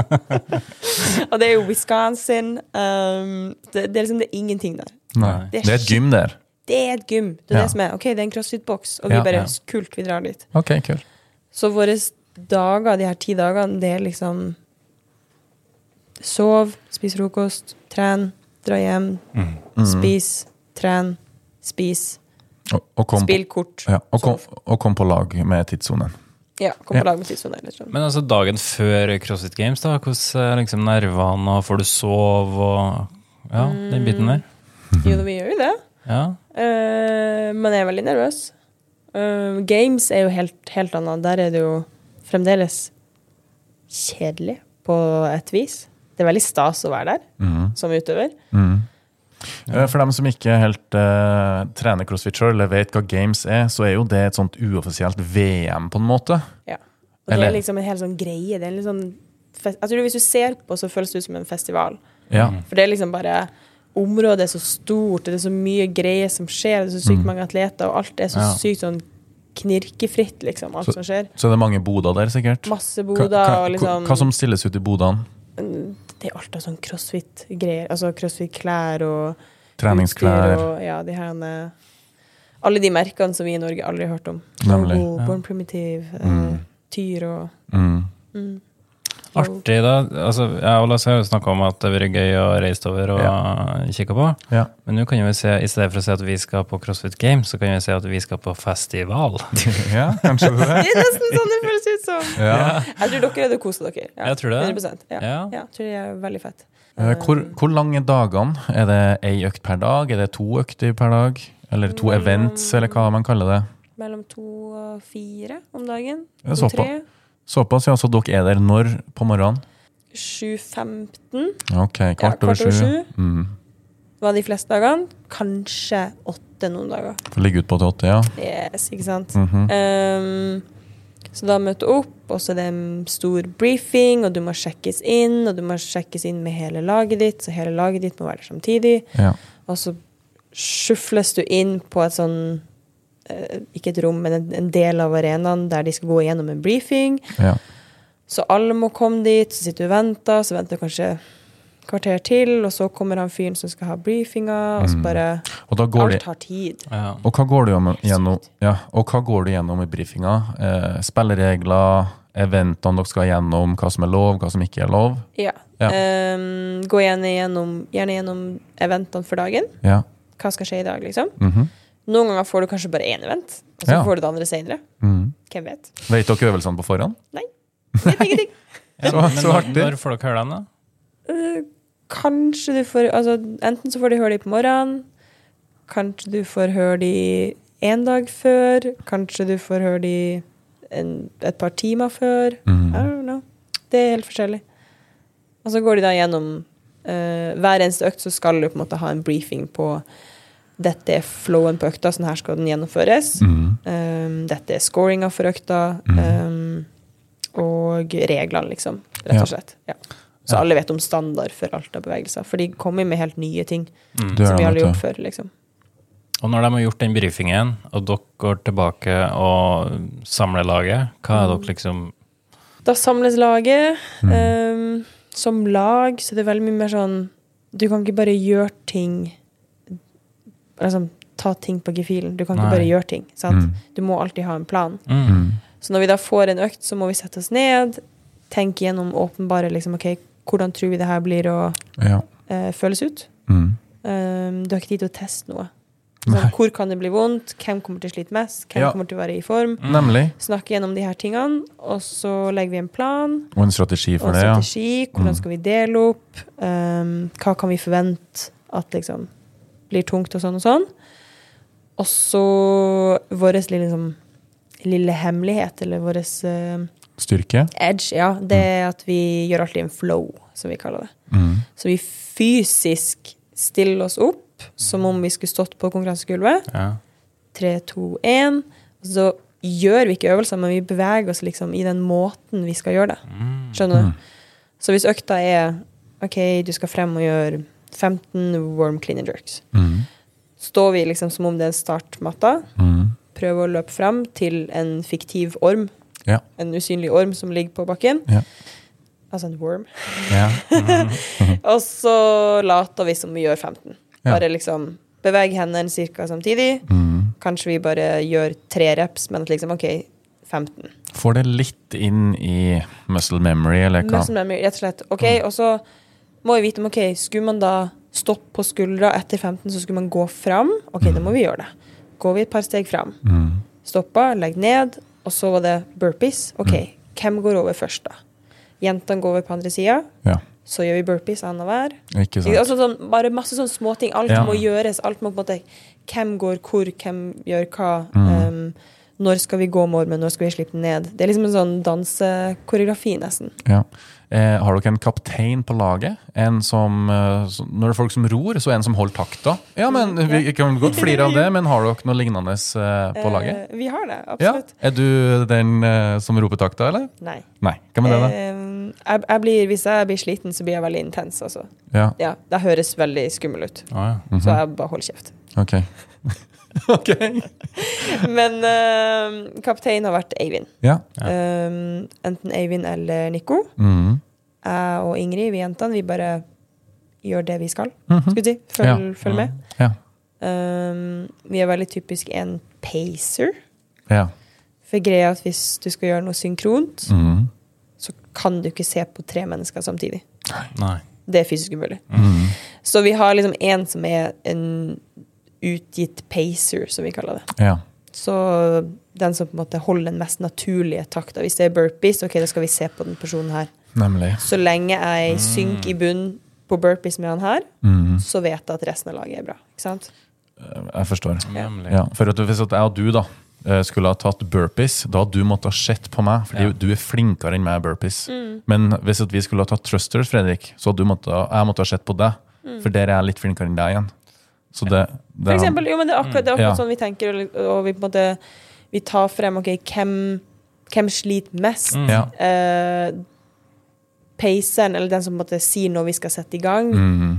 [SPEAKER 2] Og det er jo Wisconsin. Um, det, det er liksom det er ingenting der.
[SPEAKER 1] Nei.
[SPEAKER 2] Det
[SPEAKER 1] Det
[SPEAKER 2] er
[SPEAKER 1] er et gym der.
[SPEAKER 2] Det er et gym. Det er
[SPEAKER 1] Ja.
[SPEAKER 2] det som er. Ok, det er en crossfit-boks, og
[SPEAKER 1] Ja,
[SPEAKER 2] vi bare
[SPEAKER 3] ja.
[SPEAKER 2] Kult, vi drar dit.
[SPEAKER 1] Ok, kult.
[SPEAKER 2] Så våre dager, de her ti dagene, det er liksom Sov, spis frokost, tren, dra hjem,
[SPEAKER 1] Mm.
[SPEAKER 2] spis, tren, spis,
[SPEAKER 1] Og, og, kom på,
[SPEAKER 2] spill kort.
[SPEAKER 1] ja, og, kom, og kom på lag med tidssonen.
[SPEAKER 2] Ja, kom
[SPEAKER 1] Ja.
[SPEAKER 2] på lag med tidssonen. eller sånn.
[SPEAKER 3] Men altså dagen før CrossFit Games, da, hvordan er liksom nervene, og får du sove, og ja, den biten der?
[SPEAKER 1] Mm.
[SPEAKER 2] Jo, da, vi gjør jo det.
[SPEAKER 3] Ja.
[SPEAKER 2] Mm. Eh, men jeg er veldig nervøs. Eh, games er jo helt, helt annet. Der er det jo fremdeles kjedelig på et vis. Det er veldig stas å være der
[SPEAKER 1] Mhm.
[SPEAKER 2] som utøver.
[SPEAKER 1] Mhm. Eh, For dem som ikke helt eh, trener crossfit sjøl, eller vet hva games er, så er jo det et sånt uoffisielt VM, på en måte.
[SPEAKER 2] Ja. Og det
[SPEAKER 1] Eller-
[SPEAKER 2] er liksom en hel sånn greie. Det er en litt sånn fest jeg tror Hvis du ser på, så føles det ut som en festival.
[SPEAKER 1] Ja.
[SPEAKER 2] For det er liksom bare Området er så stort, det er så mye greier som skjer, det er
[SPEAKER 1] Mm.
[SPEAKER 2] så sykt mange atleter, og alt er så
[SPEAKER 3] Ja.
[SPEAKER 2] sykt sånn knirkefritt, liksom, alt
[SPEAKER 1] Så-
[SPEAKER 2] som skjer.
[SPEAKER 1] Så er det mange boder der, sikkert.
[SPEAKER 2] Masse
[SPEAKER 1] Hva-
[SPEAKER 2] boder og
[SPEAKER 1] hva-
[SPEAKER 2] liksom
[SPEAKER 1] Hva som stilles ut i bodene?
[SPEAKER 2] Det er alt av sånn crossfit-greier. Altså crossfit-klær og utstyr
[SPEAKER 1] Treningsklær,
[SPEAKER 2] Og, ja, de her eh, Alle de merkene som vi i Norge aldri har hørt om.
[SPEAKER 1] nemlig.
[SPEAKER 2] Togo, Born Primitive, eh,
[SPEAKER 1] Mm.
[SPEAKER 2] Tyr og
[SPEAKER 1] Mm.
[SPEAKER 3] Artig, da. Altså, jeg og Lasse har jo snakka om at det har vært gøy å reise over og kikke på.
[SPEAKER 1] [LAUGHS] Ja.
[SPEAKER 3] Men nå kan vi se, i stedet for å si at vi skal på CrossFit Games, så kan vi si at vi skal på festival.
[SPEAKER 1] ja, kanskje det.
[SPEAKER 2] Det er nesten sånn det føles ut som!
[SPEAKER 1] Ja.
[SPEAKER 2] Jeg tror dere hadde kosa dere. Ja,
[SPEAKER 3] Jeg tror det.
[SPEAKER 2] 100%, ja.
[SPEAKER 3] Ja.
[SPEAKER 2] Ja, jeg tror det er veldig fett.
[SPEAKER 1] Eh, Hvor, hvor lang er dagene? Er det ei økt per dag? Er det to økter per dag? Eller to
[SPEAKER 2] Mm.
[SPEAKER 1] events, eller hva man kaller det?
[SPEAKER 2] Mellom to og fire om dagen.
[SPEAKER 1] Det er
[SPEAKER 2] To,
[SPEAKER 1] såpass.
[SPEAKER 2] tre.
[SPEAKER 1] Såpass, ja. Så dere er der når på morgenen?
[SPEAKER 2] 7.15
[SPEAKER 1] Ok,
[SPEAKER 2] Ja,
[SPEAKER 1] kvart, over sju.
[SPEAKER 2] sju.
[SPEAKER 1] Mm.
[SPEAKER 2] var de fleste dagene. Kanskje åtte noen dager.
[SPEAKER 1] Får ligge ut på til åtte, ja.
[SPEAKER 2] Yes, ikke sant?
[SPEAKER 1] Mhm.
[SPEAKER 2] Ehm, så da møter du opp, og så er det en stor briefing, og du må sjekkes inn, og du må sjekkes inn med hele laget ditt, så hele laget ditt må være der samtidig.
[SPEAKER 1] ja.
[SPEAKER 2] Og så skyfles du inn på et sånn eh, ikke et rom, men en, en del av arenaen der de skal gå gjennom en briefing.
[SPEAKER 1] ja.
[SPEAKER 2] Så alle må komme dit, så sitter du og venter, så venter du kanskje kvarter til, og så kommer han fyren som skal ha briefinga, og så bare
[SPEAKER 1] Og, da Mm. går de,
[SPEAKER 2] Alt tar tid.
[SPEAKER 3] Ja.
[SPEAKER 1] og hva går du gjennom, gjennom, ja, og hva går du gjennom i briefinga? Eh, spilleregler, eventene dere skal gjennom, hva som er lov, hva som ikke er lov?
[SPEAKER 2] Ja.
[SPEAKER 1] Ja.
[SPEAKER 2] Ehm, gå gjerne gjennom, gjerne gjennom eventene for dagen.
[SPEAKER 1] Ja.
[SPEAKER 2] Hva skal skje i dag, liksom?
[SPEAKER 1] Mhm.
[SPEAKER 2] Noen ganger får du kanskje bare én event, og så
[SPEAKER 1] Ja.
[SPEAKER 2] får du det andre senere.
[SPEAKER 1] Mhm.
[SPEAKER 2] Hvem vet?
[SPEAKER 1] [LAUGHS] Vet dere øvelsene på forhånd?
[SPEAKER 2] Vet ingenting.
[SPEAKER 1] Så-
[SPEAKER 3] men
[SPEAKER 1] så
[SPEAKER 3] når,
[SPEAKER 1] artig.
[SPEAKER 3] når får dere høre den, da?
[SPEAKER 2] Eh, kanskje du får Altså, enten så får du høre de på morgenen, kanskje du får høre de én dag før, kanskje du får høre de en, et par timer før. I
[SPEAKER 1] Mhm.
[SPEAKER 2] don't know. Det er helt forskjellig. Og så går de da gjennom eh, Hver eneste økt så skal du på en måte ha en briefing på dette er flowen på økta, sånn her skal den gjennomføres.
[SPEAKER 1] Mhm.
[SPEAKER 2] Um, dette er scoringa for økta. Um, og reglene, liksom. Rett
[SPEAKER 1] Ja.
[SPEAKER 2] og slett. Ja. Så alle vet om standard for alt av bevegelser. For de kommer med helt nye ting
[SPEAKER 1] Du
[SPEAKER 2] som
[SPEAKER 1] er nødt
[SPEAKER 2] vi aldri har
[SPEAKER 1] til-
[SPEAKER 2] gjort før. liksom.
[SPEAKER 3] Og når de har gjort den briefingen, og dere går tilbake og samler laget, hva er dere liksom
[SPEAKER 2] Da samles laget ehm, som lag, så det er veldig mye mer sånn Du kan ikke bare gjøre ting liksom, Ta ting på gefühlen. Du kan ikke
[SPEAKER 3] Nei.
[SPEAKER 2] bare gjøre ting. sant?
[SPEAKER 1] Mm.
[SPEAKER 2] Du må alltid ha en plan.
[SPEAKER 1] mhm,
[SPEAKER 3] mm.
[SPEAKER 2] Så når vi da får en økt, så må vi sette oss ned, tenke gjennom åpenbare liksom, ok, hvordan tror vi det her blir å
[SPEAKER 1] Ja.
[SPEAKER 2] eh, føles ut.
[SPEAKER 1] Mhm.
[SPEAKER 2] Ehm, du har ikke tid til å teste noe.
[SPEAKER 1] Nei.
[SPEAKER 2] Sånn, hvor kan det bli vondt? Hvem kommer til å slite mest? Hvem
[SPEAKER 1] Ja.
[SPEAKER 2] kommer til å være i form?
[SPEAKER 1] Nemlig.
[SPEAKER 2] Snakke gjennom de her tingene, og så legger vi en plan.
[SPEAKER 1] Og en strategi for
[SPEAKER 2] Og
[SPEAKER 1] det, ja. Mm.
[SPEAKER 2] strategi, hvordan skal vi dele opp, ehm, hva kan vi forvente at liksom blir tungt og sånn og sånn. Og så vår lille, liksom, lille hemmelighet, eller vår eh,
[SPEAKER 1] Styrke.
[SPEAKER 2] edge, ja, det
[SPEAKER 1] Mm.
[SPEAKER 2] er at vi gjør alltid en flow, som vi kaller det.
[SPEAKER 1] Mhm.
[SPEAKER 2] Så vi fysisk stiller oss opp som om vi skulle stått på konkurransegulvet.
[SPEAKER 3] ja.
[SPEAKER 2] 3, 2, 1. Og så gjør vi ikke øvelser, men vi beveger oss liksom i den måten vi skal gjøre Sånn det.
[SPEAKER 3] Mm.
[SPEAKER 2] Skjønner
[SPEAKER 1] Mm.
[SPEAKER 2] du? Så hvis økta er OK, du skal frem og gjøre 15 warm clean and jerks.
[SPEAKER 1] Mhm.
[SPEAKER 2] Står vi liksom som om det er en startmatta,
[SPEAKER 1] Mhm.
[SPEAKER 2] prøver å løpe frem til en fiktiv orm,
[SPEAKER 1] Ja.
[SPEAKER 2] en usynlig orm som ligger på bakken.
[SPEAKER 1] Ja.
[SPEAKER 2] Altså en worm.
[SPEAKER 1] Ja.
[SPEAKER 2] Og så later vi som vi gjør 15.
[SPEAKER 1] Ja.
[SPEAKER 2] Bare liksom beveg hendene cirka samtidig.
[SPEAKER 1] Mhm.
[SPEAKER 2] Kanskje vi bare gjør tre reps, men at liksom OK, 15.
[SPEAKER 1] Får det Mm. litt inn i muscle memory, eller hva?
[SPEAKER 2] Muscle memory, rett og slett. Ok, og så må vi vite om ok, skulle man da stoppe på skuldra etter 15, så skulle man gå fram. Ok, da må vi gjøre det. Går vi et par steg fram.
[SPEAKER 1] Mm.
[SPEAKER 2] Stoppa, legg ned, og så var det burpees. Ok,
[SPEAKER 1] Mm.
[SPEAKER 2] hvem går over først, da? Jentene går over på andre sida,
[SPEAKER 1] Ja,
[SPEAKER 2] så gjør vi burpees annenhver.
[SPEAKER 1] ikke sant.
[SPEAKER 2] Altså sånn, bare masse sånne småting. Alt
[SPEAKER 1] Ja.
[SPEAKER 2] må gjøres. Alt må på en måte Hvem går hvor, hvem gjør hva.
[SPEAKER 1] Mm.
[SPEAKER 2] ehm, når skal vi gå med ormen, når skal vi slippe den ned? Det er liksom en sånn dansekoreografi, nesten.
[SPEAKER 1] Ja. Eh, har dere en kaptein på laget? En som, eh, som, når det er folk som ror, så er en som holder takta. Mm, Ja, men Vi kan [LAUGHS] godt flire av det, men har dere noe lignende eh, på laget?
[SPEAKER 2] Eh, vi har det,
[SPEAKER 1] Ja.
[SPEAKER 2] absolutt.
[SPEAKER 1] Er du den eh, som roper takta, eller?
[SPEAKER 2] Nei.
[SPEAKER 1] Nei. Hvem er det, da?
[SPEAKER 2] Ehm, jeg, jeg blir, hvis jeg blir sliten, så blir jeg veldig intens. Altså.
[SPEAKER 1] Ja,
[SPEAKER 2] Ja, det høres veldig skummel ut,
[SPEAKER 1] Mhm.
[SPEAKER 2] så jeg bare holder kjeft. [LAUGHS]
[SPEAKER 1] ok. ok.
[SPEAKER 2] Men uh, kaptein har vært Eivind.
[SPEAKER 1] Ja.
[SPEAKER 2] Ehm, enten Eivind eller Nico.
[SPEAKER 1] Mhm.
[SPEAKER 2] Jeg og Ingrid, vi jentene, vi bare gjør det vi skal.
[SPEAKER 1] Mhm.
[SPEAKER 2] Skulle jeg si. Følg,
[SPEAKER 1] Ja.
[SPEAKER 2] følg med.
[SPEAKER 1] Ja.
[SPEAKER 2] Ehm, vi er veldig typisk en pacer.
[SPEAKER 1] ja.
[SPEAKER 2] For greia er at hvis du skal gjøre noe synkront,
[SPEAKER 1] Mhm.
[SPEAKER 2] så kan du ikke se på tre mennesker samtidig.
[SPEAKER 3] Nei.
[SPEAKER 2] Det er fysisk umulig.
[SPEAKER 1] Mhm.
[SPEAKER 2] Så vi har liksom en som er en utgitt pacer, som vi kaller det.
[SPEAKER 1] ja.
[SPEAKER 2] Så den som på en måte holder den mest naturlige takta. Hvis det er burpees, ok, da skal vi se på den personen her.
[SPEAKER 1] Nemlig.
[SPEAKER 2] Så lenge jeg synker i bunnen på burpees med han her,
[SPEAKER 1] Mhm.
[SPEAKER 2] så vet jeg at resten av laget er bra. Ikke sant?
[SPEAKER 1] Eh, Jeg forstår.
[SPEAKER 2] Ja.
[SPEAKER 3] Nemlig.
[SPEAKER 1] Ja, for at Hvis at jeg og du da eh, skulle ha tatt burpees, da hadde du måttet ha sett på meg, fordi
[SPEAKER 3] Ja.
[SPEAKER 1] du er flinkere enn meg i burpees. Men hvis at vi skulle ha tatt thrusters, Fredrik, så hadde du måttet, ha- jeg måtte ha sett på deg, for der er jeg litt flinkere enn deg igjen. Så det,
[SPEAKER 2] Mm. For
[SPEAKER 1] det Mm,
[SPEAKER 2] eksempel, jo, men det er akkurat, det er akkurat
[SPEAKER 1] Ja.
[SPEAKER 2] sånn vi tenker, og, og vi på en måte vi tar frem ok, hvem, hvem sliter mest.
[SPEAKER 3] Mm.
[SPEAKER 1] Ja.
[SPEAKER 2] Eh, paceren, eller den som på en måte sier når vi skal sette i gang,
[SPEAKER 1] Mhm.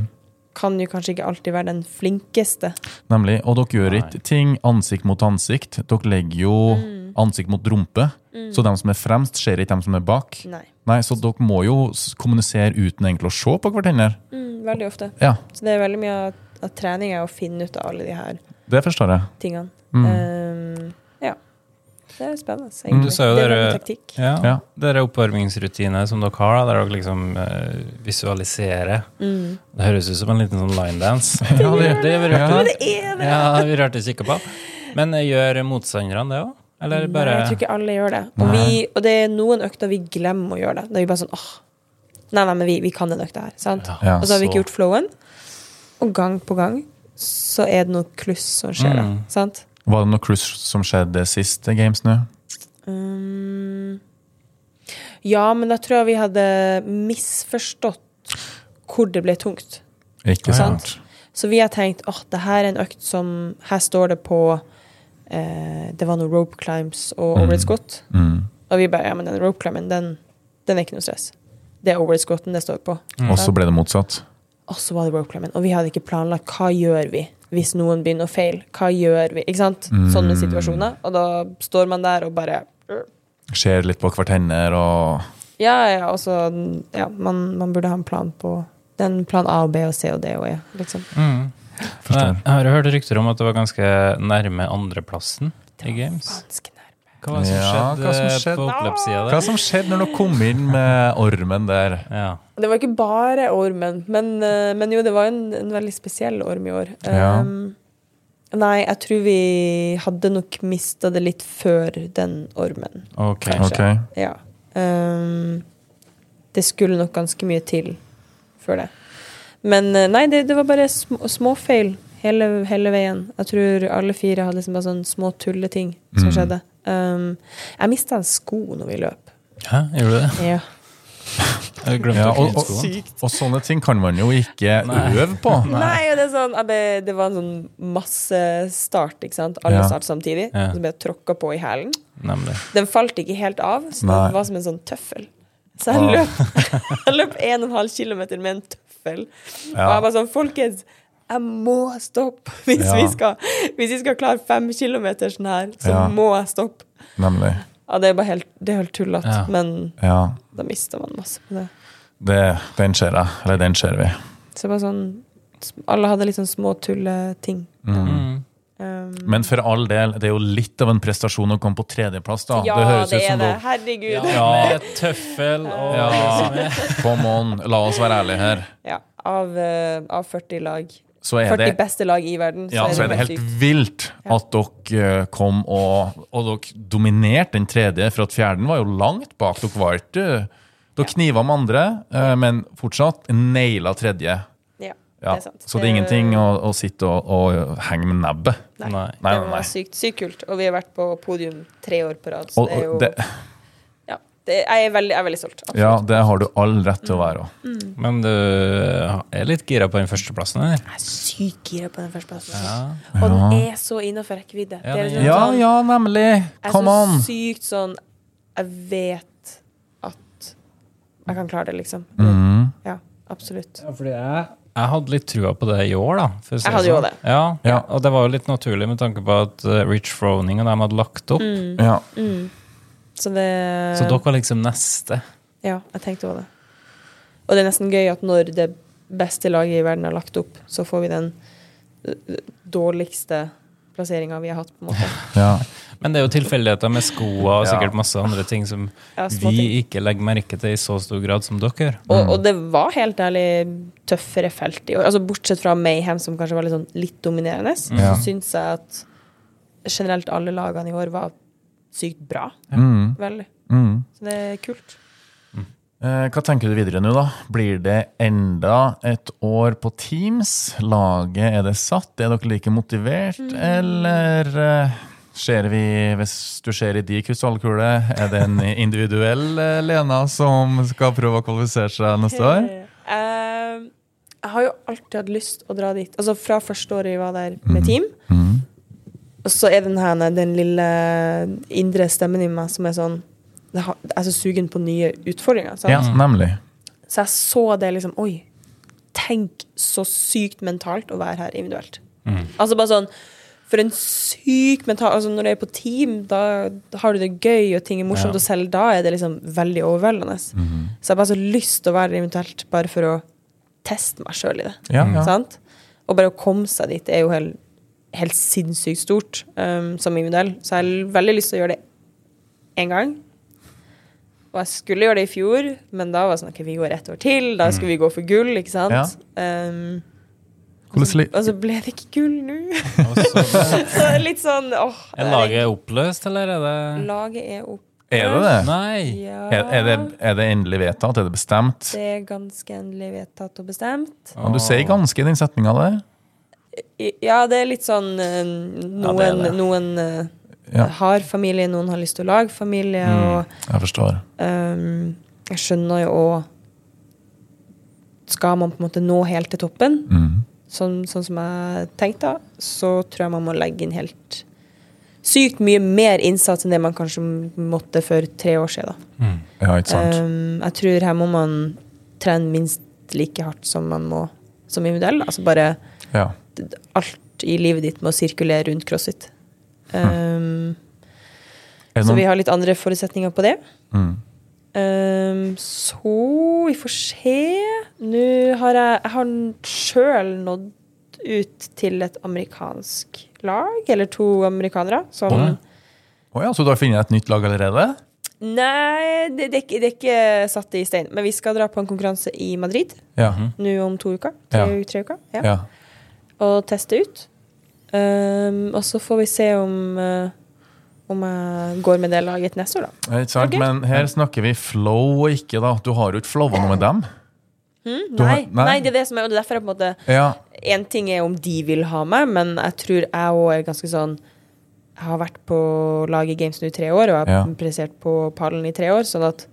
[SPEAKER 2] kan jo kanskje ikke alltid være den flinkeste.
[SPEAKER 1] Nemlig. Og dere gjør
[SPEAKER 3] Nei.
[SPEAKER 1] ikke ting ansikt mot ansikt. Dere legger jo
[SPEAKER 2] Mm.
[SPEAKER 1] ansikt mot rumpe, Mm. så dem som er fremst, ser ikke dem som er bak.
[SPEAKER 2] Nei.
[SPEAKER 1] Nei, Så dere må jo s- kommunisere uten egentlig å se på hverandre.
[SPEAKER 2] Mm, veldig ofte.
[SPEAKER 1] Ja,
[SPEAKER 2] Så det er veldig mye av, av trening er å finne ut av alle de her
[SPEAKER 1] det forstår jeg.
[SPEAKER 2] tingene.
[SPEAKER 1] Mm.
[SPEAKER 2] Eh, ja. Det er spennende.
[SPEAKER 1] Mm,
[SPEAKER 2] Egentlig.
[SPEAKER 1] du
[SPEAKER 3] sa jo
[SPEAKER 2] det er
[SPEAKER 3] dere-
[SPEAKER 2] veldig taktikk.
[SPEAKER 3] Ja.
[SPEAKER 1] Ja.
[SPEAKER 3] Det er oppvarmingsrutine som dere har, da, der dere liksom eh, visualiserer.
[SPEAKER 2] Mm.
[SPEAKER 3] Det høres ut som en liten sånn line dance.
[SPEAKER 1] [LAUGHS] Ja, det-
[SPEAKER 3] det
[SPEAKER 1] Ja.
[SPEAKER 3] rørte
[SPEAKER 1] Men
[SPEAKER 2] Det er det!
[SPEAKER 3] Ja, vi rørte oss ikke på. Men eh, gjør motstanderne det òg? Eller bare
[SPEAKER 2] Nei, jeg tror ikke alle gjør det. Og, vi, og det er noen økter vi glemmer å gjøre det. Da er vi bare sånn åh, nei, nei, men vi, vi kan den økta her. sant?
[SPEAKER 1] Ja,
[SPEAKER 2] og så har vi
[SPEAKER 3] så-
[SPEAKER 2] ikke gjort flowen. Og gang på gang så er det noe kluss som skjer, da.
[SPEAKER 3] Mm.
[SPEAKER 2] Sant?
[SPEAKER 1] Var det noe cruise som skjedde sist eh, Games nå?
[SPEAKER 2] Mm. ja, men da tror jeg vi hadde misforstått hvor det ble tungt.
[SPEAKER 1] Ikke
[SPEAKER 2] Ja.
[SPEAKER 1] sant?
[SPEAKER 2] Så vi har tenkt åh, det her er en økt som Her står det på eh, Det var noe rope climbs og overhead squat.
[SPEAKER 1] Mm.
[SPEAKER 2] Og vi bare, ja, men den rope climben, den, den er ikke noe stress. Det er overhead squatten det står på.
[SPEAKER 3] Mm.
[SPEAKER 1] Og så ble det motsatt.
[SPEAKER 2] Og så var det rope climben. Og vi hadde ikke planlagt hva gjør vi hvis noen begynner å fail. Hva gjør vi? Ikke sant? Sånne situasjoner. Og da står man der og bare
[SPEAKER 1] Ser litt på hverandre og
[SPEAKER 2] Ja, ja, og så Ja, man, man burde ha en plan på den plan A og B og C og D og E, liksom.
[SPEAKER 3] Mm.
[SPEAKER 1] Forstår.
[SPEAKER 3] Jeg har hørt rykter om at det var ganske nærme andreplassen i Games.
[SPEAKER 2] Ganske nærme.
[SPEAKER 3] Hva var det som
[SPEAKER 1] Ja,
[SPEAKER 3] skjedde,
[SPEAKER 1] hva som skjedde?
[SPEAKER 3] på oppløpssida
[SPEAKER 1] Hva
[SPEAKER 3] der?
[SPEAKER 1] som skjedde når du kom inn med ormen der?
[SPEAKER 3] Ja.
[SPEAKER 2] Det var ikke bare ormen, men, eh, men jo, det var en, en veldig spesiell orm i år.
[SPEAKER 1] Ja.
[SPEAKER 2] Um, nei, jeg tror vi hadde nok mista det litt før den ormen,
[SPEAKER 1] Ok,
[SPEAKER 3] Ok.
[SPEAKER 2] kanskje. Ja. Um, det skulle nok ganske mye til før det. Men eh, nei, det, det var bare små, småfeil hele, hele veien. Jeg tror alle fire hadde liksom bare sånne små tulleting som
[SPEAKER 1] Mm.
[SPEAKER 2] skjedde. Um, jeg mista en sko når vi løp.
[SPEAKER 3] Hæ, gjorde du det?
[SPEAKER 2] Ja.
[SPEAKER 3] Jeg glemte
[SPEAKER 1] Ja,
[SPEAKER 3] å
[SPEAKER 1] og,
[SPEAKER 3] knytte
[SPEAKER 1] og,
[SPEAKER 3] skoene.
[SPEAKER 1] og sånne ting kan man jo ikke
[SPEAKER 3] Nei.
[SPEAKER 1] øve på.
[SPEAKER 2] Nei, og det, er sånn, jeg ble, det var en sånn massestart, ikke sant? Alle
[SPEAKER 1] Ja.
[SPEAKER 2] start samtidig.
[SPEAKER 3] Ja.
[SPEAKER 2] Så ble jeg tråkka på i hælen.
[SPEAKER 3] Nemlig.
[SPEAKER 2] Den falt ikke helt av, så
[SPEAKER 1] Nei.
[SPEAKER 2] den var som en sånn tøffel. Så jeg løp, [LAUGHS] jeg løp en og en halv kilometer med en tøffel. Og jeg bare sånn, folkens, jeg må stoppe hvis,
[SPEAKER 1] Ja.
[SPEAKER 2] vi, skal, hvis vi skal klare fem kilometer sånn her, så
[SPEAKER 1] Ja.
[SPEAKER 2] må jeg stoppe.
[SPEAKER 1] Nemlig.
[SPEAKER 2] Ja, det er bare helt, det er helt tullet,
[SPEAKER 3] Ja.
[SPEAKER 2] men
[SPEAKER 1] Ja,
[SPEAKER 2] da mister man masse på det.
[SPEAKER 1] det, den ser jeg. Eller den ser vi.
[SPEAKER 2] Så bare sånn, alle hadde litt sånn små tulleting.
[SPEAKER 1] Mm.
[SPEAKER 3] Mm.
[SPEAKER 2] Um, Um,
[SPEAKER 1] Men for all del, det er jo litt av en prestasjon å komme på tredjeplass, da.
[SPEAKER 2] ja,
[SPEAKER 1] det høres
[SPEAKER 2] det
[SPEAKER 1] ut
[SPEAKER 2] er
[SPEAKER 1] som
[SPEAKER 2] det.
[SPEAKER 1] noe
[SPEAKER 2] Herregud.
[SPEAKER 3] Ja,
[SPEAKER 1] Ja.
[SPEAKER 3] Med tøffel og
[SPEAKER 1] Ja.
[SPEAKER 3] liksom, ja.
[SPEAKER 1] Come on, la oss være ærlige her.
[SPEAKER 2] Ja, av, eh, av 40 lag.
[SPEAKER 1] Så er
[SPEAKER 2] 40
[SPEAKER 1] det,
[SPEAKER 2] beste lag i verden.
[SPEAKER 1] ja, så er det helt vilt at dere eh, kom og, og dere dominerte den tredje, for at fjerden var jo langt bak. Dere var ikke eh, Dere kniva med andre, eh, men fortsatt naila tredje.
[SPEAKER 2] Ja,
[SPEAKER 1] Ja.
[SPEAKER 2] det er sant.
[SPEAKER 1] Så det er ingenting å, å sitte og, og henge med nebbet.
[SPEAKER 2] Nei.
[SPEAKER 3] Nei.
[SPEAKER 1] Nei,
[SPEAKER 2] Det
[SPEAKER 1] nei,
[SPEAKER 2] var
[SPEAKER 1] nei.
[SPEAKER 2] sykt, sykt kult. Og vi har vært på podium tre år på rad, så
[SPEAKER 1] Og,
[SPEAKER 2] det er jo
[SPEAKER 1] og det,
[SPEAKER 2] ja, det, jeg, er veldig, jeg er veldig stolt. Absolutt.
[SPEAKER 1] ja, det har du all rett til å være òg.
[SPEAKER 3] Men du er litt gira på den førsteplassen, eller?
[SPEAKER 2] Jeg er sykt gira på den førsteplassen.
[SPEAKER 3] Ja.
[SPEAKER 2] Og den er så innafor rekkevidde.
[SPEAKER 3] Ja,
[SPEAKER 2] det er
[SPEAKER 3] den
[SPEAKER 2] liksom
[SPEAKER 3] er-
[SPEAKER 1] Ja,
[SPEAKER 2] sånn-
[SPEAKER 1] ja, nemlig!
[SPEAKER 2] Jeg
[SPEAKER 1] Come
[SPEAKER 2] er
[SPEAKER 1] on!
[SPEAKER 2] så sykt sånn Jeg vet at jeg kan klare det, liksom.
[SPEAKER 1] Mhm.
[SPEAKER 2] Ja, absolutt.
[SPEAKER 4] Ja, fordi jeg
[SPEAKER 3] Jeg hadde litt trua på det i år, da. for å si
[SPEAKER 2] Jeg hadde jo
[SPEAKER 3] sånn.
[SPEAKER 2] det.
[SPEAKER 3] Ja.
[SPEAKER 1] Ja.
[SPEAKER 3] Og det var jo litt naturlig med tanke på at eh, Rich Froning og dem hadde lagt opp.
[SPEAKER 1] Ja.
[SPEAKER 2] Mm. Så det
[SPEAKER 3] Så dere var liksom neste.
[SPEAKER 2] Ja, jeg tenkte også det. Og det er nesten gøy at når det beste laget i verden har lagt opp, så får vi den eh, dårligste plasseringa vi har hatt, på en måte.
[SPEAKER 1] ja.
[SPEAKER 3] Men det er jo tilfeldigheter med skoa og
[SPEAKER 1] Ja.
[SPEAKER 3] sikkert masse andre ting som
[SPEAKER 2] Ja, små ting.
[SPEAKER 3] vi ikke legger merke til i så stor grad som dere.
[SPEAKER 1] Mm.
[SPEAKER 2] Og, og det var helt ærlig tøffere felt i år. Altså, bortsett fra Mayhem, som kanskje var litt, sånn, litt dominerende,
[SPEAKER 1] Ja.
[SPEAKER 2] så syns jeg at generelt alle lagene i år var sykt bra.
[SPEAKER 1] Mhm.
[SPEAKER 2] Veldig.
[SPEAKER 1] Mhm.
[SPEAKER 2] Så det er kult.
[SPEAKER 1] Eh, Hva tenker du videre nå, da? Blir det enda et år på Teams? Laget, er det satt? Er dere like motivert,
[SPEAKER 2] Mm.
[SPEAKER 1] eller eh, Ser vi, hvis du ser i de krystallkule, er det
[SPEAKER 2] [LAUGHS]
[SPEAKER 1] en individuell eh, Lena som skal prøve å kvalifisere seg neste år?
[SPEAKER 2] Eh, jeg har jo alltid hatt lyst å dra dit. Altså Fra første året jeg var der med team,
[SPEAKER 1] Mhm.
[SPEAKER 2] Og så er den her den lille indre stemmen i meg som er sånn det har- Jeg er så sugen på nye utfordringer. Sant? Mm.
[SPEAKER 1] Ja, nemlig.
[SPEAKER 2] Så jeg så det liksom Oi, tenk så sykt mentalt å være her individuelt. Altså bare sånn For en syk mental Altså Når du er på team, da har du det gøy, og ting er morsomt,
[SPEAKER 3] Ja.
[SPEAKER 2] og selv da er det liksom veldig overveldende. Så jeg har bare så lyst til å være her individuelt, bare for å teste meg sjøl i det.
[SPEAKER 1] Ja, ja.
[SPEAKER 2] Sant? Og bare å komme seg dit er jo helt, helt sinnssykt stort um, som individuell. Så jeg har veldig lyst til å gjøre det én gang. Og jeg skulle gjøre det i fjor, men da var det sånn OK, vi går ett år til. Da skulle vi gå for gull, ikke sant?
[SPEAKER 1] Mm. Ja.
[SPEAKER 2] Um,
[SPEAKER 1] Hvordan li-
[SPEAKER 2] og så ble det ikke gull nå. [LAUGHS]
[SPEAKER 3] Og så-
[SPEAKER 2] så det er litt sånn åh.
[SPEAKER 3] Er laget oppløst, eller er det
[SPEAKER 2] Laget er opp...
[SPEAKER 1] Er det det?
[SPEAKER 3] Nei.
[SPEAKER 2] Ja.
[SPEAKER 1] Er, er, det, er det endelig vedtatt? Er det bestemt?
[SPEAKER 2] Det er ganske endelig vedtatt og bestemt.
[SPEAKER 1] Ja, Du sier ganske i den setninga der.
[SPEAKER 2] I- Ja, det er litt sånn eh, Noen,
[SPEAKER 3] det er det.
[SPEAKER 2] noen eh,
[SPEAKER 1] Ja.
[SPEAKER 2] har familie, noen har lyst til å lage familie,
[SPEAKER 3] Mm.
[SPEAKER 2] og
[SPEAKER 1] Jeg forstår.
[SPEAKER 2] ehm, jeg skjønner jo òg Skal man på en måte nå helt til toppen,
[SPEAKER 1] Mhm.
[SPEAKER 2] sånn, sånn som jeg tenkte, da, så tror jeg man må legge inn helt sykt mye mer innsats enn det man kanskje måtte for tre år siden. Da.
[SPEAKER 1] Ja, ikke sant?
[SPEAKER 2] Ehm, jeg tror her må man trene minst like hardt som man må som individuell. Altså bare
[SPEAKER 1] Ja.
[SPEAKER 2] alt i livet ditt med å sirkulere rundt crossfit. Um,
[SPEAKER 1] Er Hm. det
[SPEAKER 2] Så vi
[SPEAKER 1] noen,
[SPEAKER 2] har litt andre forutsetninger på det.
[SPEAKER 1] Mhm.
[SPEAKER 2] Um, så vi får se. Nå har jeg Jeg har sjøl nådd ut til et amerikansk lag, eller to amerikanere, som
[SPEAKER 1] Å. Å ja, så du har funnet et nytt lag allerede?
[SPEAKER 2] Nei, det, det, er ikke- det er ikke satt i stein. Men vi skal dra på en konkurranse i Madrid
[SPEAKER 1] Ja. Mhm.
[SPEAKER 2] nå om to uker. Tre,
[SPEAKER 1] Ja.
[SPEAKER 2] tre uker. Ja.
[SPEAKER 1] ja.
[SPEAKER 2] og teste ut. Ehm, og så får vi se om, eh, om jeg går med det laget neste år, da.
[SPEAKER 1] Ikke sant?
[SPEAKER 2] Ok.
[SPEAKER 1] Men her snakker vi flow og ikke, da. Du har jo ikke flowa noe med dem. Du har-
[SPEAKER 2] Mm, Nei,
[SPEAKER 1] nei.
[SPEAKER 2] nei. det er det som er, og det er derfor jeg på en måte
[SPEAKER 1] Ja,
[SPEAKER 2] En ting er om de vil ha meg, men jeg tror jeg òg er ganske sånn Jeg har vært på laget Games nå i tre år, og jeg har
[SPEAKER 1] Ja.
[SPEAKER 2] prestert på pallen i tre år, sånn at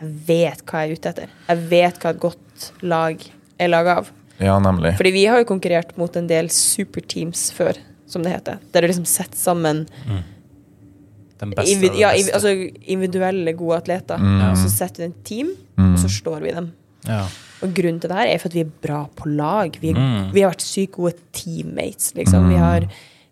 [SPEAKER 2] jeg vet hva jeg er ute etter. Jeg vet hva et godt lag er laga av.
[SPEAKER 1] ja nemlig.
[SPEAKER 2] Fordi vi har jo konkurrert mot en del superteams før, som det heter. Der du liksom setter sammen
[SPEAKER 3] Den beste av
[SPEAKER 2] Invi
[SPEAKER 3] den
[SPEAKER 2] ja,
[SPEAKER 3] beste. Mm.
[SPEAKER 2] invi altså individuelle gode atleter. Og så setter vi en team, og så slår vi dem.
[SPEAKER 3] Ja.
[SPEAKER 2] Og grunnen til det her er for at vi er bra på lag. Vi,
[SPEAKER 3] Mm.
[SPEAKER 2] vi har vært sykt gode teammates, liksom. Vi, har,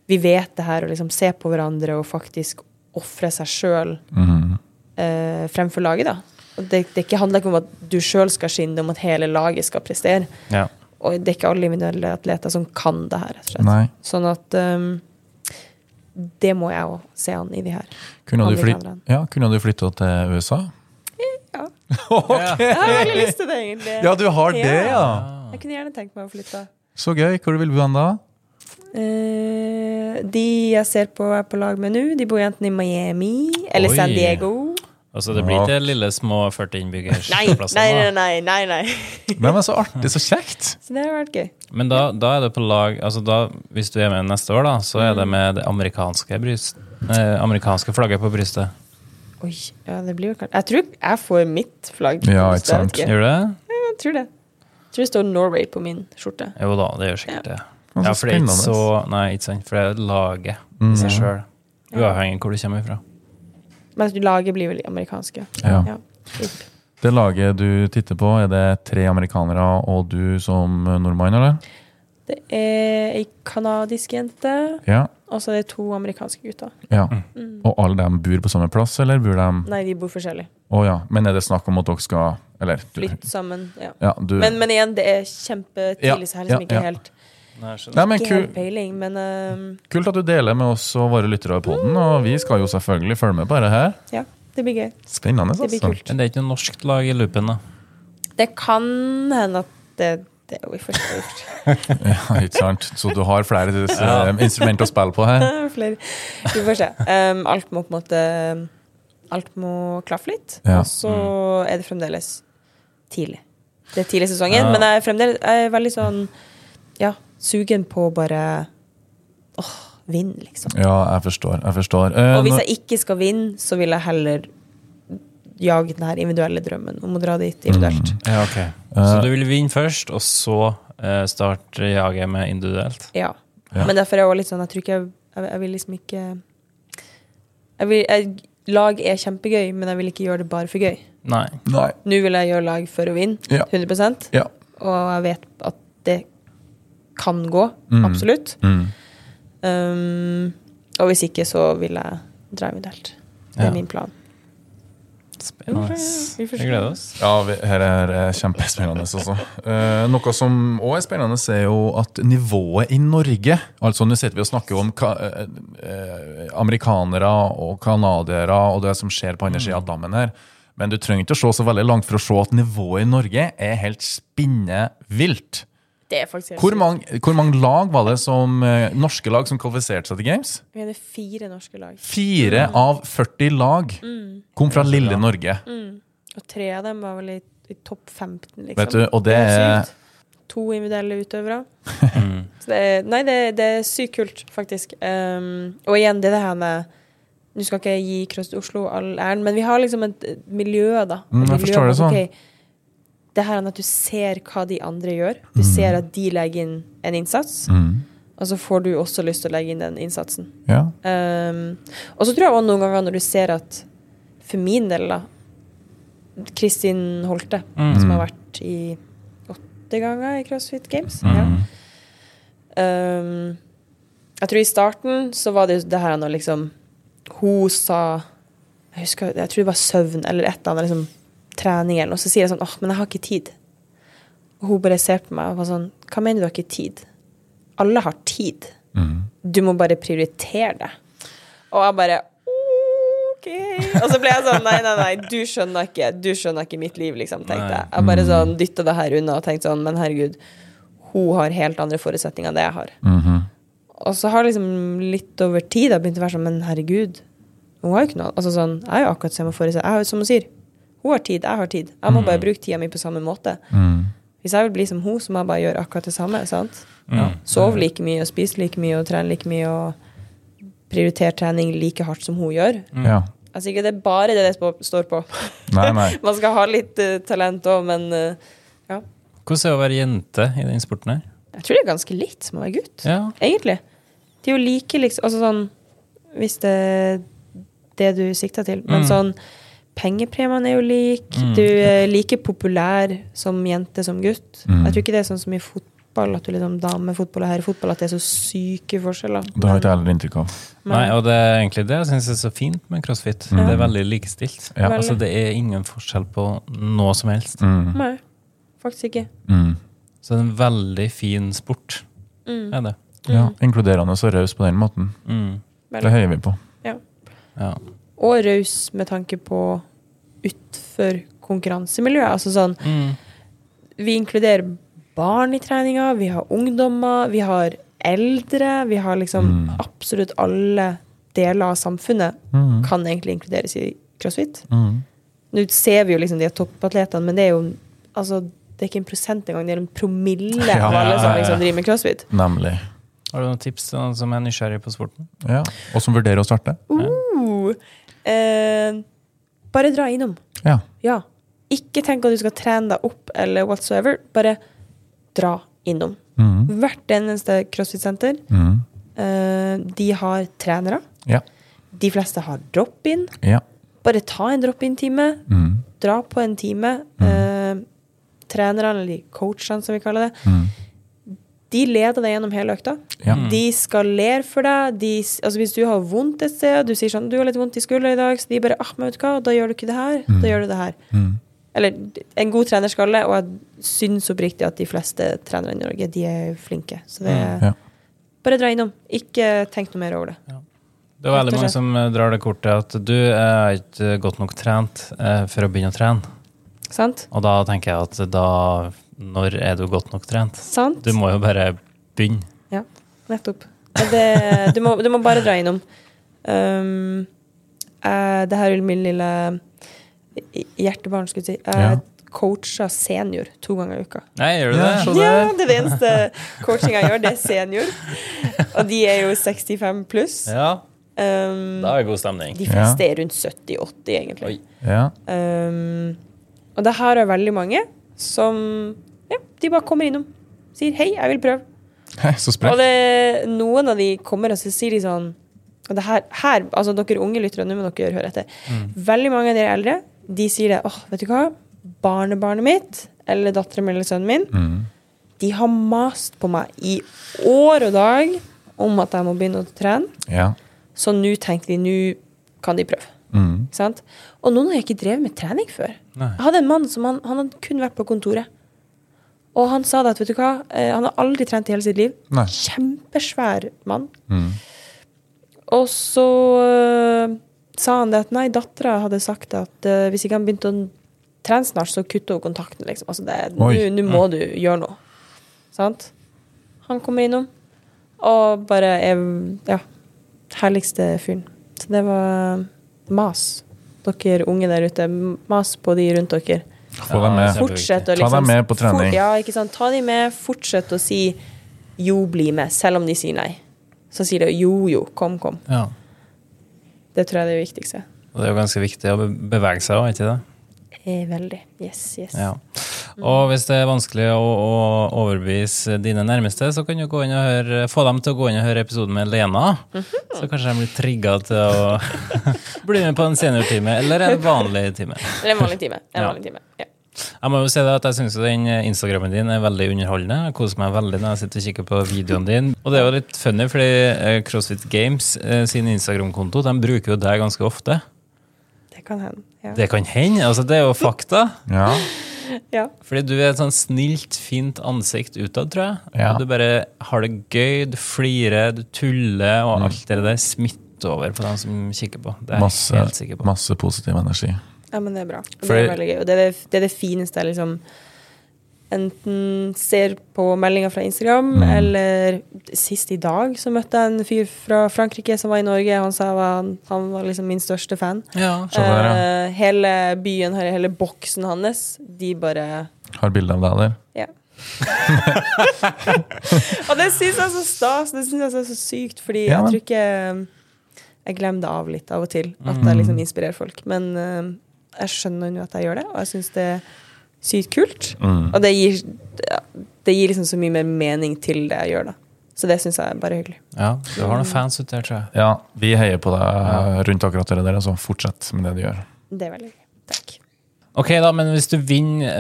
[SPEAKER 2] vi vet det her å liksom se på hverandre og faktisk ofre seg sjøl
[SPEAKER 1] Mhm.
[SPEAKER 2] eh, fremfor laget, da. Og det, det ikke handler ikke om at du sjøl skal skinne, det er om at hele laget skal prestere.
[SPEAKER 3] Ja.
[SPEAKER 2] Og det er ikke alle individuelle atleter som kan det her, rett og slett.
[SPEAKER 1] Nei.
[SPEAKER 2] Sånn at um, det må jeg òg se an i de her.
[SPEAKER 1] Kunne du,
[SPEAKER 2] Andre
[SPEAKER 1] flyt
[SPEAKER 2] kameraene.
[SPEAKER 1] ja, kunne du flytta til USA?
[SPEAKER 2] Ja.
[SPEAKER 1] ok!
[SPEAKER 2] Jeg har veldig lyst til det, egentlig.
[SPEAKER 1] Ja, du har det, ja!
[SPEAKER 2] Jeg kunne gjerne tenkt meg å flytte.
[SPEAKER 1] Så gøy. Hvor vil du hen da?
[SPEAKER 2] Eh, de jeg ser på er på lag med nå, de bor enten i Miami eller San
[SPEAKER 3] Oi.
[SPEAKER 2] Diego.
[SPEAKER 3] Altså, det blir ikke lille, små 40 innbyggers
[SPEAKER 2] Nei, nei, nei, nei, nei, nei.
[SPEAKER 1] Nei, men så artig. Så kjekt!
[SPEAKER 2] Så det har vært gøy.
[SPEAKER 3] Men da, da er det på lag altså da, Hvis du er med neste år, da, så er det med det amerikanske, bryst, eh, amerikanske flagget på brystet.
[SPEAKER 2] Oi, ja, det blir jo kanskje Jeg tror jeg får mitt flagg.
[SPEAKER 1] Ja,
[SPEAKER 2] Jeg
[SPEAKER 1] ikke sant.
[SPEAKER 2] vet ikke.
[SPEAKER 3] Gjør du det?
[SPEAKER 2] Jeg tror det. Jeg tror det står Norway på min skjorte.
[SPEAKER 3] Jo da, det gjør sikkert det.
[SPEAKER 1] Men så
[SPEAKER 3] Ja, for det er ikke
[SPEAKER 1] spennende.
[SPEAKER 3] så Mm. Nei, ikke sant. For det er laget
[SPEAKER 1] Mhm.
[SPEAKER 3] i seg sjøl. Uavhengig av hvor du kommer fra.
[SPEAKER 2] Mens laget blir vel amerikansk, ja.
[SPEAKER 1] Ja.
[SPEAKER 2] Ja.
[SPEAKER 1] Det laget du titter på, er det tre amerikanere og du som nordmann, eller?
[SPEAKER 2] Det er ei kanadisk jente,
[SPEAKER 1] Ja.
[SPEAKER 2] og så er det to amerikanske gutter. Mm.
[SPEAKER 1] ja. Og alle dem bor på samme plass, eller bor de Å
[SPEAKER 2] Nei, de bor forskjellig.
[SPEAKER 1] ja. Men er det snakk om at dere skal Eller du,
[SPEAKER 2] Flytt sammen. ja.
[SPEAKER 1] ja, du.
[SPEAKER 2] Men, men igjen, det er kjempetidlig, så jeg har liksom
[SPEAKER 1] Ja,
[SPEAKER 2] ikke
[SPEAKER 1] ja, ja.
[SPEAKER 2] helt,
[SPEAKER 3] Nei,
[SPEAKER 1] Nei, men
[SPEAKER 2] ikke
[SPEAKER 1] ku,
[SPEAKER 2] helt peiling. Men ehm,
[SPEAKER 1] Kult at du deler med oss og våre lyttere i poden, og vi skal jo selvfølgelig følge med på det her.
[SPEAKER 2] ja, det blir gøy.
[SPEAKER 1] Spennende,
[SPEAKER 2] Det blir
[SPEAKER 1] altså.
[SPEAKER 2] kult.
[SPEAKER 3] Men det er ikke noe norskt lag i loopen, da.
[SPEAKER 2] Det kan hende at det, det er jo i første
[SPEAKER 1] [LAUGHS] Ja, ikke sant? Så du har flere til disse eh, instrumenter å spille på her.
[SPEAKER 2] [LAUGHS] Flere. Vi får se. Ehm, alt må på en måte Alt må klaffe litt.
[SPEAKER 1] Ja. Mm.
[SPEAKER 2] Og så er det fremdeles tidlig. Det er tidlig i sesongen, men jeg er fremdeles jeg er veldig sånn Ja, sugen på bare Åh, vinn, liksom.
[SPEAKER 1] Ja, jeg forstår. Jeg forstår. Eh,
[SPEAKER 2] Og hvis
[SPEAKER 1] nå-
[SPEAKER 2] jeg ikke skal vinne, så vil jeg heller jage den her individuelle drømmen om å dra dit individuelt.
[SPEAKER 1] Mm.
[SPEAKER 3] Ja, ok. Eh. Så du vil vinne først, og så eh, starte jaget med individuelt?
[SPEAKER 2] Ja. Men derfor er jeg også litt sånn Jeg tror ikke jeg, jeg, jeg vil liksom ikke jeg vil, jeg, Lag er kjempegøy, men jeg vil ikke gjøre det bare for gøy.
[SPEAKER 3] Nei.
[SPEAKER 1] Nei.
[SPEAKER 2] Nå vil jeg gjøre lag for å vinne,
[SPEAKER 1] Ja.
[SPEAKER 2] 100
[SPEAKER 1] Ja.
[SPEAKER 2] Og jeg vet at det kan gå, absolutt.
[SPEAKER 1] Mm.
[SPEAKER 2] Um, og hvis ikke, så vil jeg dra eventuelt. Det er
[SPEAKER 3] Ja.
[SPEAKER 2] min plan.
[SPEAKER 3] Spennende.
[SPEAKER 2] Vi
[SPEAKER 3] Vi
[SPEAKER 2] får se.
[SPEAKER 3] gleder oss.
[SPEAKER 1] Ja, vi, her er eh, kjempespennende. Altså. Eh, noe som òg er spennende, er jo at nivået i Norge altså Nå sitter vi og snakker om ka, eh, eh, amerikanere og canadiere og det som skjer på andre
[SPEAKER 2] Mm.
[SPEAKER 1] sida av dammen her. Men du trenger ikke å se så veldig langt for å se at nivået i Norge er helt spinnevilt.
[SPEAKER 2] Det er faktisk helt
[SPEAKER 1] Hvor
[SPEAKER 2] sykt.
[SPEAKER 1] mange, hvor mange lag var det som eh, norske lag som kvalifiserte seg til Games?
[SPEAKER 2] Vi hadde fire norske lag,
[SPEAKER 1] Fire
[SPEAKER 2] Mm.
[SPEAKER 1] av 40 lag kom fra lille Norge.
[SPEAKER 2] og tre av dem var vel i, i topp 15, liksom.
[SPEAKER 1] Vet du, og det
[SPEAKER 2] er
[SPEAKER 1] er
[SPEAKER 2] sykt. To individuelle utøvere.
[SPEAKER 3] Mm.
[SPEAKER 2] Så det er, nei, det, det er sykt kult, faktisk. Um, og igjen, det er det her med Nå skal ikke jeg gi Krøst Oslo all æren, men vi har liksom et et miljø, da. Et
[SPEAKER 1] Mm, jeg
[SPEAKER 2] miljø
[SPEAKER 1] forstår
[SPEAKER 2] med
[SPEAKER 1] det
[SPEAKER 2] at,
[SPEAKER 1] sånn.
[SPEAKER 2] ok, det her er at du ser hva de andre gjør. Du ser at de legger inn en innsats,
[SPEAKER 1] mm.
[SPEAKER 2] og så får du også lyst til å legge inn den innsatsen.
[SPEAKER 1] Ja.
[SPEAKER 2] Um, og så tror jeg også noen ganger når du ser at For min del, da Kristin Holte, Mm. som
[SPEAKER 1] Mm.
[SPEAKER 2] har vært i åtte ganger i CrossFit Games
[SPEAKER 1] Mm.
[SPEAKER 2] ja. um, Jeg tror i starten så var det jo det her når liksom Hun sa Jeg husker, jeg tror det var søvn eller et eller annet liksom, trening eller noe. Så sier jeg sånn åh, men jeg har ikke tid. Og hun bare ser på meg og var sånn Hva mener du har ikke tid? Alle har tid.
[SPEAKER 1] Mm.
[SPEAKER 2] Du må bare prioritere det. Og jeg bare OK. Og så ble jeg sånn Nei, nei, nei, du skjønner ikke Du skjønner ikke mitt liv, liksom, tenkte jeg. Jeg bare sånn dytta det her unna og tenkte sånn Men herregud, hun har helt andre forutsetninger enn det jeg har.
[SPEAKER 1] Mm-hmm.
[SPEAKER 2] Og så har det liksom litt over tid jeg begynt å være sånn Men herregud, hun har jo ikke noe Altså sånn Jeg er jo akkurat samme forutsetning. Jeg har jo, som hun sier, hun har tid, jeg har tid. Jeg må bare bruke tida mi på samme måte.
[SPEAKER 1] Mm-hmm.
[SPEAKER 2] Hvis jeg vil bli som hun, så må jeg bare gjøre akkurat det samme. sant? Sove like mye og spise like mye og trene like mye og prioritere trening like hardt som hun gjør.
[SPEAKER 1] ja.
[SPEAKER 2] Altså ikke det er bare det det spå- står på.
[SPEAKER 1] Mm-hmm.
[SPEAKER 2] [LAUGHS]
[SPEAKER 1] Nei, nei.
[SPEAKER 2] Man skal ha litt eh, talent òg, men eh, ja.
[SPEAKER 3] Hvordan er det å være jente i den sporten her?
[SPEAKER 2] Jeg tror det er ganske likt som å være gutt,
[SPEAKER 3] Ja.
[SPEAKER 2] egentlig. De er jo like, liksom Altså sånn Hvis det er det du sikter til. Men sånn Pengepremiene er jo like. Du er like populær som jente som gutt. Jeg tror ikke det er sånn som i fotball, at du liksom damefotball og herrefotball, at det er så syke forskjeller.
[SPEAKER 1] Det har ikke jeg heller inntrykk av.
[SPEAKER 3] Nei, og det er egentlig det jeg syns er så fint med crossfit. Det er veldig likestilt.
[SPEAKER 1] Ja.
[SPEAKER 2] Veldig.
[SPEAKER 3] Altså, det er ingen forskjell på noe som helst.
[SPEAKER 2] Nei, faktisk ikke.
[SPEAKER 1] Mm.
[SPEAKER 3] Så det er en
[SPEAKER 2] Mm.
[SPEAKER 3] veldig fin sport. Er det. Mm.
[SPEAKER 1] Ja, inkluderende og raus på den måten. Det
[SPEAKER 2] mellom.
[SPEAKER 1] heier vi på.
[SPEAKER 3] Ja.
[SPEAKER 2] Og raus med tanke på utfor konkurransemiljøet. Altså sånn,
[SPEAKER 3] Mm.
[SPEAKER 2] vi inkluderer barn i treninga, vi har ungdommer, vi har eldre, vi har liksom
[SPEAKER 1] Mm.
[SPEAKER 2] absolutt alle deler av samfunnet
[SPEAKER 1] Mm.
[SPEAKER 2] kan egentlig inkluderes i crossfit.
[SPEAKER 1] Mm.
[SPEAKER 2] Nå ser vi jo liksom de toppatletene, men det er jo altså, det er ikke en prosent engang, det er en promille
[SPEAKER 1] Ja.
[SPEAKER 2] av alle
[SPEAKER 3] Ja,
[SPEAKER 2] som
[SPEAKER 3] ja, ja.
[SPEAKER 2] liksom driver med crossfit.
[SPEAKER 1] Nemlig.
[SPEAKER 3] Har du noen tips til noen som er nysgjerrig på sporten?
[SPEAKER 1] Ja. Og som vurderer å starte.
[SPEAKER 2] Uh, eh, bare dra innom.
[SPEAKER 1] Ja.
[SPEAKER 2] Ja. Ikke tenk at du skal trene deg opp eller whatsoever. Bare dra innom.
[SPEAKER 1] Mm.
[SPEAKER 2] Hvert eneste crossfit-senter,
[SPEAKER 1] Mm.
[SPEAKER 2] eh, de har trenere.
[SPEAKER 1] Ja.
[SPEAKER 2] De fleste har drop-in.
[SPEAKER 1] Ja.
[SPEAKER 2] Bare ta en drop-in-time.
[SPEAKER 1] Mm.
[SPEAKER 2] Dra på en time. Eh, trenerne, eller coachene som vi kaller det,
[SPEAKER 1] Mm.
[SPEAKER 2] de leder deg gjennom hele økta.
[SPEAKER 1] Ja.
[SPEAKER 2] De skal ler for deg. De, s- altså hvis du har vondt et sted, du sier sånn 'Du har litt vondt i skuldra i dag', så de bare 'Ah, men vet du hva, da gjør du ikke det her. Da gjør du det her'.
[SPEAKER 1] Mm.
[SPEAKER 2] Eller en god trener skal det, og jeg syns oppriktig at de fleste trenere i Norge, de er flinke. Så det
[SPEAKER 1] Mm. Ja.
[SPEAKER 2] Bare dra innom. Ikke tenk noe mer over det.
[SPEAKER 3] Det er veldig
[SPEAKER 2] Rett og
[SPEAKER 3] mange
[SPEAKER 2] slett.
[SPEAKER 3] som eh, drar det kortet at du eh, er ikke godt nok trent eh, for å begynne å trene.
[SPEAKER 2] Sant?
[SPEAKER 3] Og da tenker jeg at da Når er du godt nok trent?
[SPEAKER 2] Sant?
[SPEAKER 3] Du må jo bare begynne.
[SPEAKER 2] Ja, nettopp. Men Det, du, må, du må bare dra innom. Um, eh, det her er min lille i- hjertebarn, skulle jeg si. Jeg
[SPEAKER 1] Ja.
[SPEAKER 2] coacher senior to ganger i uka.
[SPEAKER 3] Nei, gjør du
[SPEAKER 1] Ja,
[SPEAKER 3] det?
[SPEAKER 1] så-
[SPEAKER 2] Ja, det er det eneste coachinga jeg gjør, det er senior. Og de er jo 65 pluss.
[SPEAKER 3] Ja,
[SPEAKER 2] Um,
[SPEAKER 3] da er det god stemning.
[SPEAKER 2] de fleste er rundt 70-80, egentlig.
[SPEAKER 3] Oi.
[SPEAKER 1] Ja.
[SPEAKER 2] Um, og det her er veldig mange som ja, de bare kommer innom. Sier 'hei, jeg vil prøve'.
[SPEAKER 1] Hei, så
[SPEAKER 2] Og
[SPEAKER 1] sprekt.
[SPEAKER 2] det, noen av de kommer og så sier de sånn Og det her, her altså dere unge lyttere, nå må dere høre etter. Veldig mange av dere eldre de sier det. 'Åh, vet du hva? Barnebarnet mitt eller dattera mi eller sønnen min,
[SPEAKER 1] Mm.
[SPEAKER 2] de har mast på meg i år og dag om at jeg må begynne å trene,
[SPEAKER 1] Ja.
[SPEAKER 2] så nå tenkte vi nå kan de prøve'.
[SPEAKER 1] Mm.
[SPEAKER 2] Ikke sant? Og noen har jeg ikke drevet med trening før.
[SPEAKER 3] Nei.
[SPEAKER 2] Jeg hadde en mann som han, han hadde kun vært på kontoret. Og han sa det at vet du hva, eh, han har aldri trent i hele sitt liv.
[SPEAKER 1] Nei.
[SPEAKER 2] Kjempesvær mann.
[SPEAKER 1] Mm.
[SPEAKER 2] Og så eh, sa han det at nei, dattera hadde sagt at eh, hvis ikke han begynte å trene snart, så kutter hun kontakten, liksom. Altså det nå-
[SPEAKER 1] Oi.
[SPEAKER 2] nå må du gjøre noe. Sant? Han kommer innom og bare er ja, herligste fyren. Så det var mas. Dere unge der ute, mas på de rundt dere.
[SPEAKER 1] Få deg
[SPEAKER 3] Ja,
[SPEAKER 1] med.
[SPEAKER 3] kjempe-
[SPEAKER 2] Fortsett å
[SPEAKER 1] Ta
[SPEAKER 2] liksom
[SPEAKER 1] dem med på trening.
[SPEAKER 2] fort- ja, ikke sant. Ta dem med. Fortsett å si 'jo, bli med', selv om de sier nei. Så sier de 'jo, jo, kom, kom'.
[SPEAKER 3] Ja.
[SPEAKER 2] Det tror jeg er det viktigste.
[SPEAKER 3] Og det er jo ganske viktig å be- bevege seg òg, ikke det?
[SPEAKER 2] Eh, veldig. Yes, yes.
[SPEAKER 3] Ja. Og hvis det er vanskelig å, å overbevise dine nærmeste, så kan du gå inn og høre, få dem til å gå inn og høre episoden med Lena. Så kanskje de blir trigga til å [LAUGHS] bli med på en seniortime eller en vanlig time.
[SPEAKER 2] Eller en vanlig time. En
[SPEAKER 3] Ja.
[SPEAKER 2] vanlig time. Ja.
[SPEAKER 3] Jeg må jo si det at jeg syns den Instagrammen din er veldig underholdende. Jeg koser meg veldig når jeg sitter og kikker på videoen din. Og det er jo litt funny, fordi eh, CrossFit Games eh, sin Instagram-konto de bruker jo deg ganske ofte.
[SPEAKER 2] Det kan hende. Ja.
[SPEAKER 3] Det kan hende. altså Det er jo fakta.
[SPEAKER 1] Ja.
[SPEAKER 2] ja.
[SPEAKER 3] Fordi du er et sånn snilt, fint ansikt utad, tror jeg.
[SPEAKER 1] Ja.
[SPEAKER 3] Og du bare har det gøy, du flirer, du tuller,
[SPEAKER 1] Mm.
[SPEAKER 3] og alt det der smitter over på dem som kikker på. Det er jeg
[SPEAKER 1] Masse,
[SPEAKER 3] helt sikker på.
[SPEAKER 1] masse positiv energi.
[SPEAKER 2] ja, men det er bra. Og Det
[SPEAKER 3] Fordi-
[SPEAKER 2] er veldig gøy. Og det er det, det, er det fineste jeg liksom enten ser på meldinger fra Instagram, eller sist i dag så møtte jeg en fyr fra Frankrike som var i Norge. Han sa han, han var liksom min største fan.
[SPEAKER 3] Ja.
[SPEAKER 1] Se der, ja.
[SPEAKER 2] Eh, hele byen, her, hele boksen hans, de bare
[SPEAKER 1] Har bilde av deg der.
[SPEAKER 2] Ja. og det syns jeg er så stas. Det syns jeg er så sykt, fordi
[SPEAKER 1] Ja,
[SPEAKER 2] jeg
[SPEAKER 1] men-
[SPEAKER 2] tror ikke Jeg glemmer det av litt av og til, at jeg liksom inspirerer folk. Men eh, jeg skjønner nå at jeg gjør det, og jeg syns det er sykt kult.
[SPEAKER 1] Mm.
[SPEAKER 2] Og det gir, ja, det gir liksom så mye mer mening til det jeg gjør, da. Så det syns jeg er bare hyggelig.
[SPEAKER 3] Eh, ja, du har noen fans ute der, tror jeg.
[SPEAKER 1] Ja, vi heier på deg rundt akkurat det der, så fortsett med det du gjør.
[SPEAKER 2] Det er veldig hyggelig. Takk.
[SPEAKER 3] Ok, da, men hvis du vinner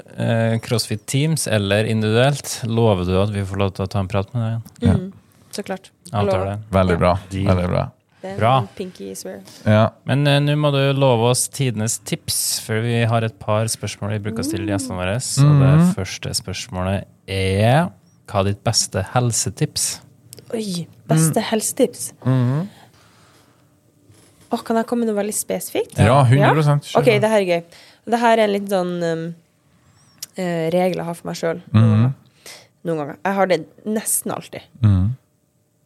[SPEAKER 3] eh, eh, CrossFit Teams eller individuelt, lover du at vi får lov til å ta en prat med deg igjen?
[SPEAKER 1] Ja.
[SPEAKER 2] Mm, så klart.
[SPEAKER 3] Jeg Avtaler
[SPEAKER 2] Lover.
[SPEAKER 3] det.
[SPEAKER 1] Veldig bra.
[SPEAKER 3] Deal.
[SPEAKER 1] Veldig bra.
[SPEAKER 2] Det er
[SPEAKER 3] Bra.
[SPEAKER 2] en Pinky swear.
[SPEAKER 1] Ja.
[SPEAKER 3] Men eh, nå må du love oss tidenes tips, for vi har et par spørsmål vi bruker å stille gjestene våre. Og det
[SPEAKER 1] Mhm.
[SPEAKER 3] første spørsmålet er hva er ditt beste helsetips?
[SPEAKER 2] Oi! Beste helsetips.
[SPEAKER 1] Mhm.
[SPEAKER 2] Å, kan jeg komme med noe veldig spesifikt?
[SPEAKER 1] Ja, 100 Kjør
[SPEAKER 2] Ok,
[SPEAKER 1] på.
[SPEAKER 2] det her er gøy. Det her er en litt sånn um, eh, regel jeg har for meg sjøl.
[SPEAKER 1] Mhm.
[SPEAKER 2] Noen ganger. Jeg har det nesten alltid.
[SPEAKER 1] Mhm.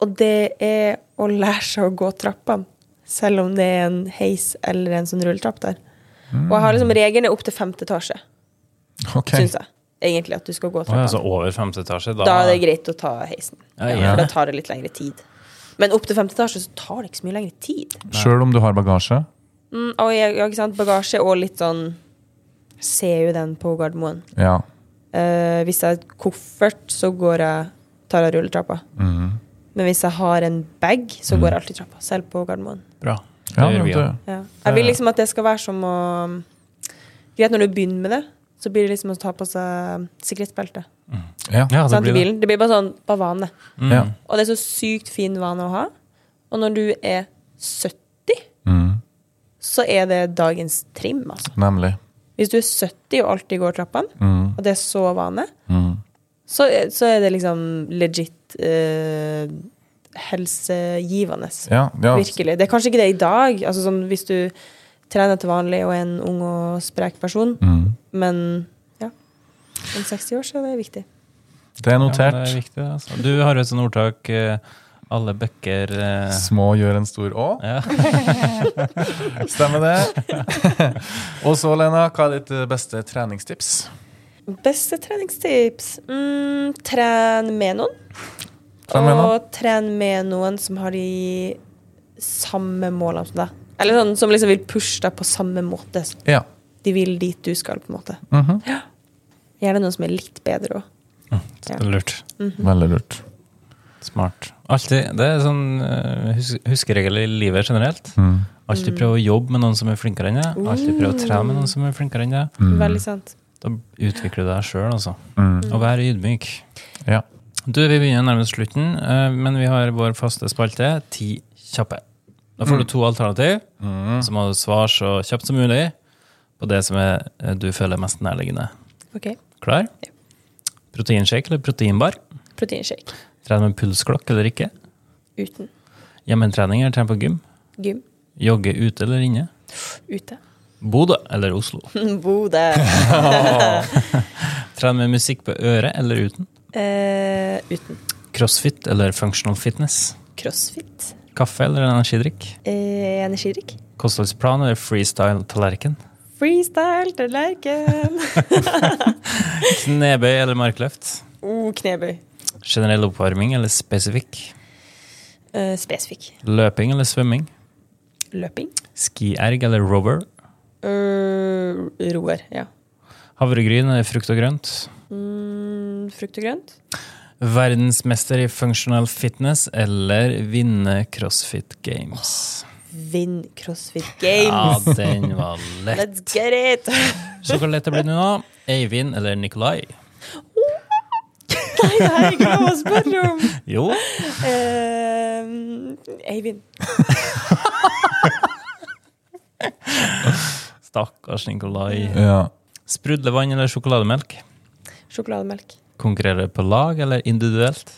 [SPEAKER 2] Og det er å lære seg å gå trappene. Selv om det er en heis eller en sånn rulletrapp der. Og jeg har
[SPEAKER 3] Mhm.
[SPEAKER 2] liksom regelen er opp til femte etasje,
[SPEAKER 1] Ok.
[SPEAKER 2] syns jeg. Egentlig at du skal gå
[SPEAKER 3] Å, ja,
[SPEAKER 2] trappene.
[SPEAKER 3] så over femte etasje, da,
[SPEAKER 2] Da er det greit å ta heisen.
[SPEAKER 3] Ja,
[SPEAKER 2] Ja,
[SPEAKER 3] ja.
[SPEAKER 2] For da tar det litt lengre tid. Men opp til femte etasje så tar det ikke så mye lengre tid.
[SPEAKER 1] Selv om du har bagasje?
[SPEAKER 2] Mm, og jeg, ja, ikke sant? Bagasje og litt sånn Ser jo den på Gardermoen.
[SPEAKER 1] Ja.
[SPEAKER 2] Eh, hvis jeg har koffert, så går jeg, tar jeg rulletrappa.
[SPEAKER 1] Mhm.
[SPEAKER 2] Men hvis jeg har en bag, så går jeg alltid trappa. Selv på Gardermoen.
[SPEAKER 3] Bra.
[SPEAKER 1] Ja,
[SPEAKER 3] Det gjør
[SPEAKER 1] men
[SPEAKER 3] vi, ja.
[SPEAKER 1] det,
[SPEAKER 2] Ja. Jeg vil liksom at det skal være som å Greit, når du begynner med det, så blir det liksom å ta på seg sikkerhetsbelte.
[SPEAKER 1] ja.
[SPEAKER 3] Ja, det
[SPEAKER 2] sant, i
[SPEAKER 3] blir det.
[SPEAKER 2] bilen. Det blir bare sånn bare vane.
[SPEAKER 3] Mm.
[SPEAKER 1] ja.
[SPEAKER 2] Og det er så sykt fin vane å ha. Og når du er 70,
[SPEAKER 3] Mm.
[SPEAKER 1] Mhm.
[SPEAKER 2] så er det dagens trim, altså.
[SPEAKER 1] Nemlig.
[SPEAKER 2] Hvis du er 70 og alltid går trappene,
[SPEAKER 1] Mhm.
[SPEAKER 2] og det er så vane,
[SPEAKER 1] Mhm.
[SPEAKER 2] så, er- så er det liksom legit eh, helsegivende.
[SPEAKER 1] Ja, ja.
[SPEAKER 2] Virkelig. Det er kanskje ikke det i dag. Altså sånn, hvis du trener til vanlig og er en ung og sprek person,
[SPEAKER 1] Mhm.
[SPEAKER 2] men ja. Om 60 år så er det viktig.
[SPEAKER 1] Det er
[SPEAKER 3] Ja,
[SPEAKER 1] notert.
[SPEAKER 3] det er viktig, altså. Du har jo et sånt ordtak eh, Alle bøkker eh,
[SPEAKER 1] Små gjør en stor å.
[SPEAKER 3] ja.
[SPEAKER 1] [LAUGHS] Stemmer
[SPEAKER 3] [LAUGHS]
[SPEAKER 1] det. og så, Lena, hva er ditt eh, beste treningstips?
[SPEAKER 2] Beste treningstips? Mm, tren med noen.
[SPEAKER 1] Tren med noen.
[SPEAKER 2] Og tren med noen som har de samme målene som deg. Eller sånn som liksom vil pushe deg på samme måte.
[SPEAKER 1] Ja.
[SPEAKER 2] De vil dit du skal, på en måte.
[SPEAKER 1] Mhm.
[SPEAKER 2] Gjerne noen som er litt bedre òg. Ja.
[SPEAKER 3] Lurt.
[SPEAKER 2] Mhm.
[SPEAKER 1] Veldig lurt.
[SPEAKER 3] Smart. Alltid. Det er sånn eh, hus huskeregel i livet generelt.
[SPEAKER 1] Mm.
[SPEAKER 3] Alltid prøve å jobbe med noen som er flinkere enn deg. Alltid prøve å trene med noen som er flinkere enn deg.
[SPEAKER 1] Mm.
[SPEAKER 2] Veldig sant.
[SPEAKER 3] Da utvikler du deg sjøl, altså.
[SPEAKER 1] Mm.
[SPEAKER 3] Og vær ydmyk.
[SPEAKER 1] Ja.
[SPEAKER 3] Du, vi begynner nærmest slutten, eh, men vi har vår faste spalte, ti kjappe. Da får du to alternativ, så må du svare så kjapt som mulig på det som er, eh, du føler mest nærliggende.
[SPEAKER 2] OK.
[SPEAKER 3] Klar?
[SPEAKER 2] Ja.
[SPEAKER 3] Proteinshake eller proteinbar?
[SPEAKER 2] Proteinshake.
[SPEAKER 3] Trene med pulsklokk eller ikke?
[SPEAKER 2] Uten
[SPEAKER 3] Hjemmetrening eller trene på gym?
[SPEAKER 2] gym.
[SPEAKER 3] Jogge ute eller inne?
[SPEAKER 2] [LAUGHS] Ute.
[SPEAKER 3] Bodø eller Oslo?
[SPEAKER 2] Bodø.
[SPEAKER 3] Trene med musikk på øret eller uten?
[SPEAKER 2] [LAUGHS] Eh, uten
[SPEAKER 3] Crossfit eller functional fitness?
[SPEAKER 2] crossfit.
[SPEAKER 3] Kaffe eller energidrikk?
[SPEAKER 2] Eh, energidrikk.
[SPEAKER 3] Kostholdsplan eller freestyle-tallerken?
[SPEAKER 2] Freestyle [LAUGHS] tallerken.
[SPEAKER 3] Knebøy eller markløft?
[SPEAKER 2] oh, knebøy.
[SPEAKER 3] Generell oppvarming eller spesifikk?
[SPEAKER 2] Eh, spesifikk.
[SPEAKER 3] Løping eller svømming?
[SPEAKER 2] Løping.
[SPEAKER 3] Skierg eller rover?
[SPEAKER 2] Eh, roer, ja.
[SPEAKER 3] Havregryn eller frukt og grønt?
[SPEAKER 2] Mm, frukt og grønt.
[SPEAKER 3] Verdensmester i functional fitness eller vinne CrossFit Games?
[SPEAKER 2] Vinn CrossFit
[SPEAKER 3] Ja,
[SPEAKER 2] Games.
[SPEAKER 3] den var lett.
[SPEAKER 2] Let's get it!
[SPEAKER 3] Så hvor lett det blir nå, da? Eivind eller Nikolai?
[SPEAKER 2] [LAUGHS] Nei, det er ikke lov å spørre [LAUGHS] om.
[SPEAKER 3] Jo.
[SPEAKER 2] Eh, Eivind.
[SPEAKER 3] Stakkars Nikolai.
[SPEAKER 1] ja.
[SPEAKER 3] Sprudlevann eller sjokolademelk?
[SPEAKER 2] Sjokolademelk.
[SPEAKER 3] Konkurrere på lag eller individuelt?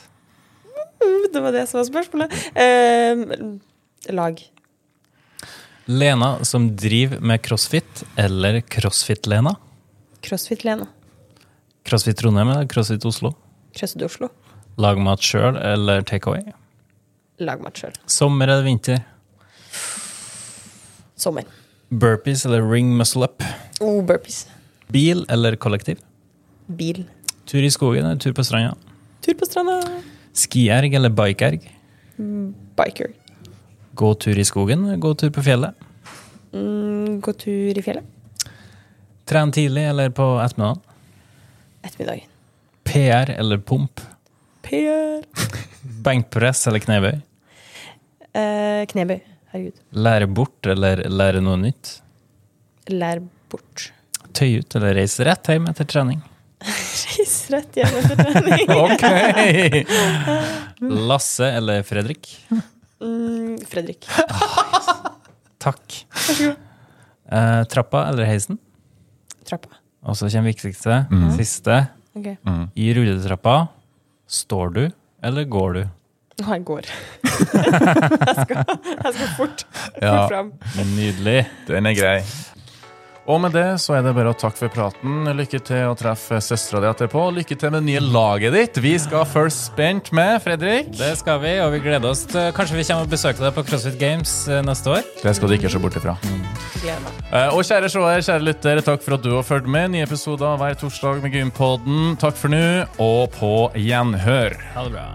[SPEAKER 2] Mm, [LAUGHS] Det var det som var spørsmålet. Eh, lag.
[SPEAKER 3] Lena som driver med crossfit, eller Crossfit-Lena?
[SPEAKER 2] Crossfit-Lena.
[SPEAKER 3] Crossfit Trondheim eller Crossfit Oslo?
[SPEAKER 2] Crossfit Oslo.
[SPEAKER 3] Lag mat sjøl eller take away?
[SPEAKER 2] Lag mat sjøl.
[SPEAKER 3] Sommer eller vinter?
[SPEAKER 2] Sommer.
[SPEAKER 3] Burpees eller ring muscle up?
[SPEAKER 2] Oh, burpees.
[SPEAKER 3] Bil eller kollektiv?
[SPEAKER 2] Bil.
[SPEAKER 3] Tur i skogen eller tur på stranda?
[SPEAKER 2] Tur på stranda.
[SPEAKER 3] Skierg eller bikeerg?
[SPEAKER 2] Biker.
[SPEAKER 3] Gå tur i skogen eller gå tur på fjellet?
[SPEAKER 2] Mm, gå tur i fjellet.
[SPEAKER 3] Tren tidlig eller på ettermiddagen?
[SPEAKER 2] Ettermiddagen.
[SPEAKER 3] PR eller pump?
[SPEAKER 2] PR.
[SPEAKER 3] Benkpress eller knebøy?
[SPEAKER 2] Eh, knebøy. Herregud.
[SPEAKER 3] Lære bort eller lære noe nytt?
[SPEAKER 2] Lær bort. [LAUGHS]
[SPEAKER 3] Tøy ut eller reise rett hjem etter trening?
[SPEAKER 2] Reis rett hjem etter
[SPEAKER 3] [LAUGHS]
[SPEAKER 2] trening.
[SPEAKER 1] [LAUGHS]
[SPEAKER 2] [LAUGHS]
[SPEAKER 1] Ok!
[SPEAKER 3] Lasse eller Fredrik?
[SPEAKER 2] Mm, Fredrik.
[SPEAKER 3] Takk. Eh, trappa eller heisen?
[SPEAKER 2] Trappa.
[SPEAKER 3] Og så kommer viktigste.
[SPEAKER 1] Mhm.
[SPEAKER 3] Siste.
[SPEAKER 2] Ok.
[SPEAKER 1] Mm.
[SPEAKER 3] I rulletrappa står du eller går du?
[SPEAKER 2] Nei, jeg går. [LAUGHS] jeg, skal, jeg skal fort, fort
[SPEAKER 1] Ja.
[SPEAKER 2] fram.
[SPEAKER 3] Nydelig.
[SPEAKER 1] Den er grei. Og med det så er det bare å takke for praten. Lykke til å treffe søstera di etterpå. Lykke til med det nye laget ditt. Vi skal First Spent med Fredrik.
[SPEAKER 3] Det skal vi, og vi gleder oss til Kanskje vi kommer og besøker deg på CrossFit Games eh, neste år?
[SPEAKER 1] Det skal du ikke se bort ifra.
[SPEAKER 2] Gleder meg.
[SPEAKER 1] Eh, Og kjære seer, kjære lytter, takk for at du har fulgt med. Nye episoder hver torsdag med Gympodden. Takk for nå, og på gjenhør.
[SPEAKER 3] Ha det bra.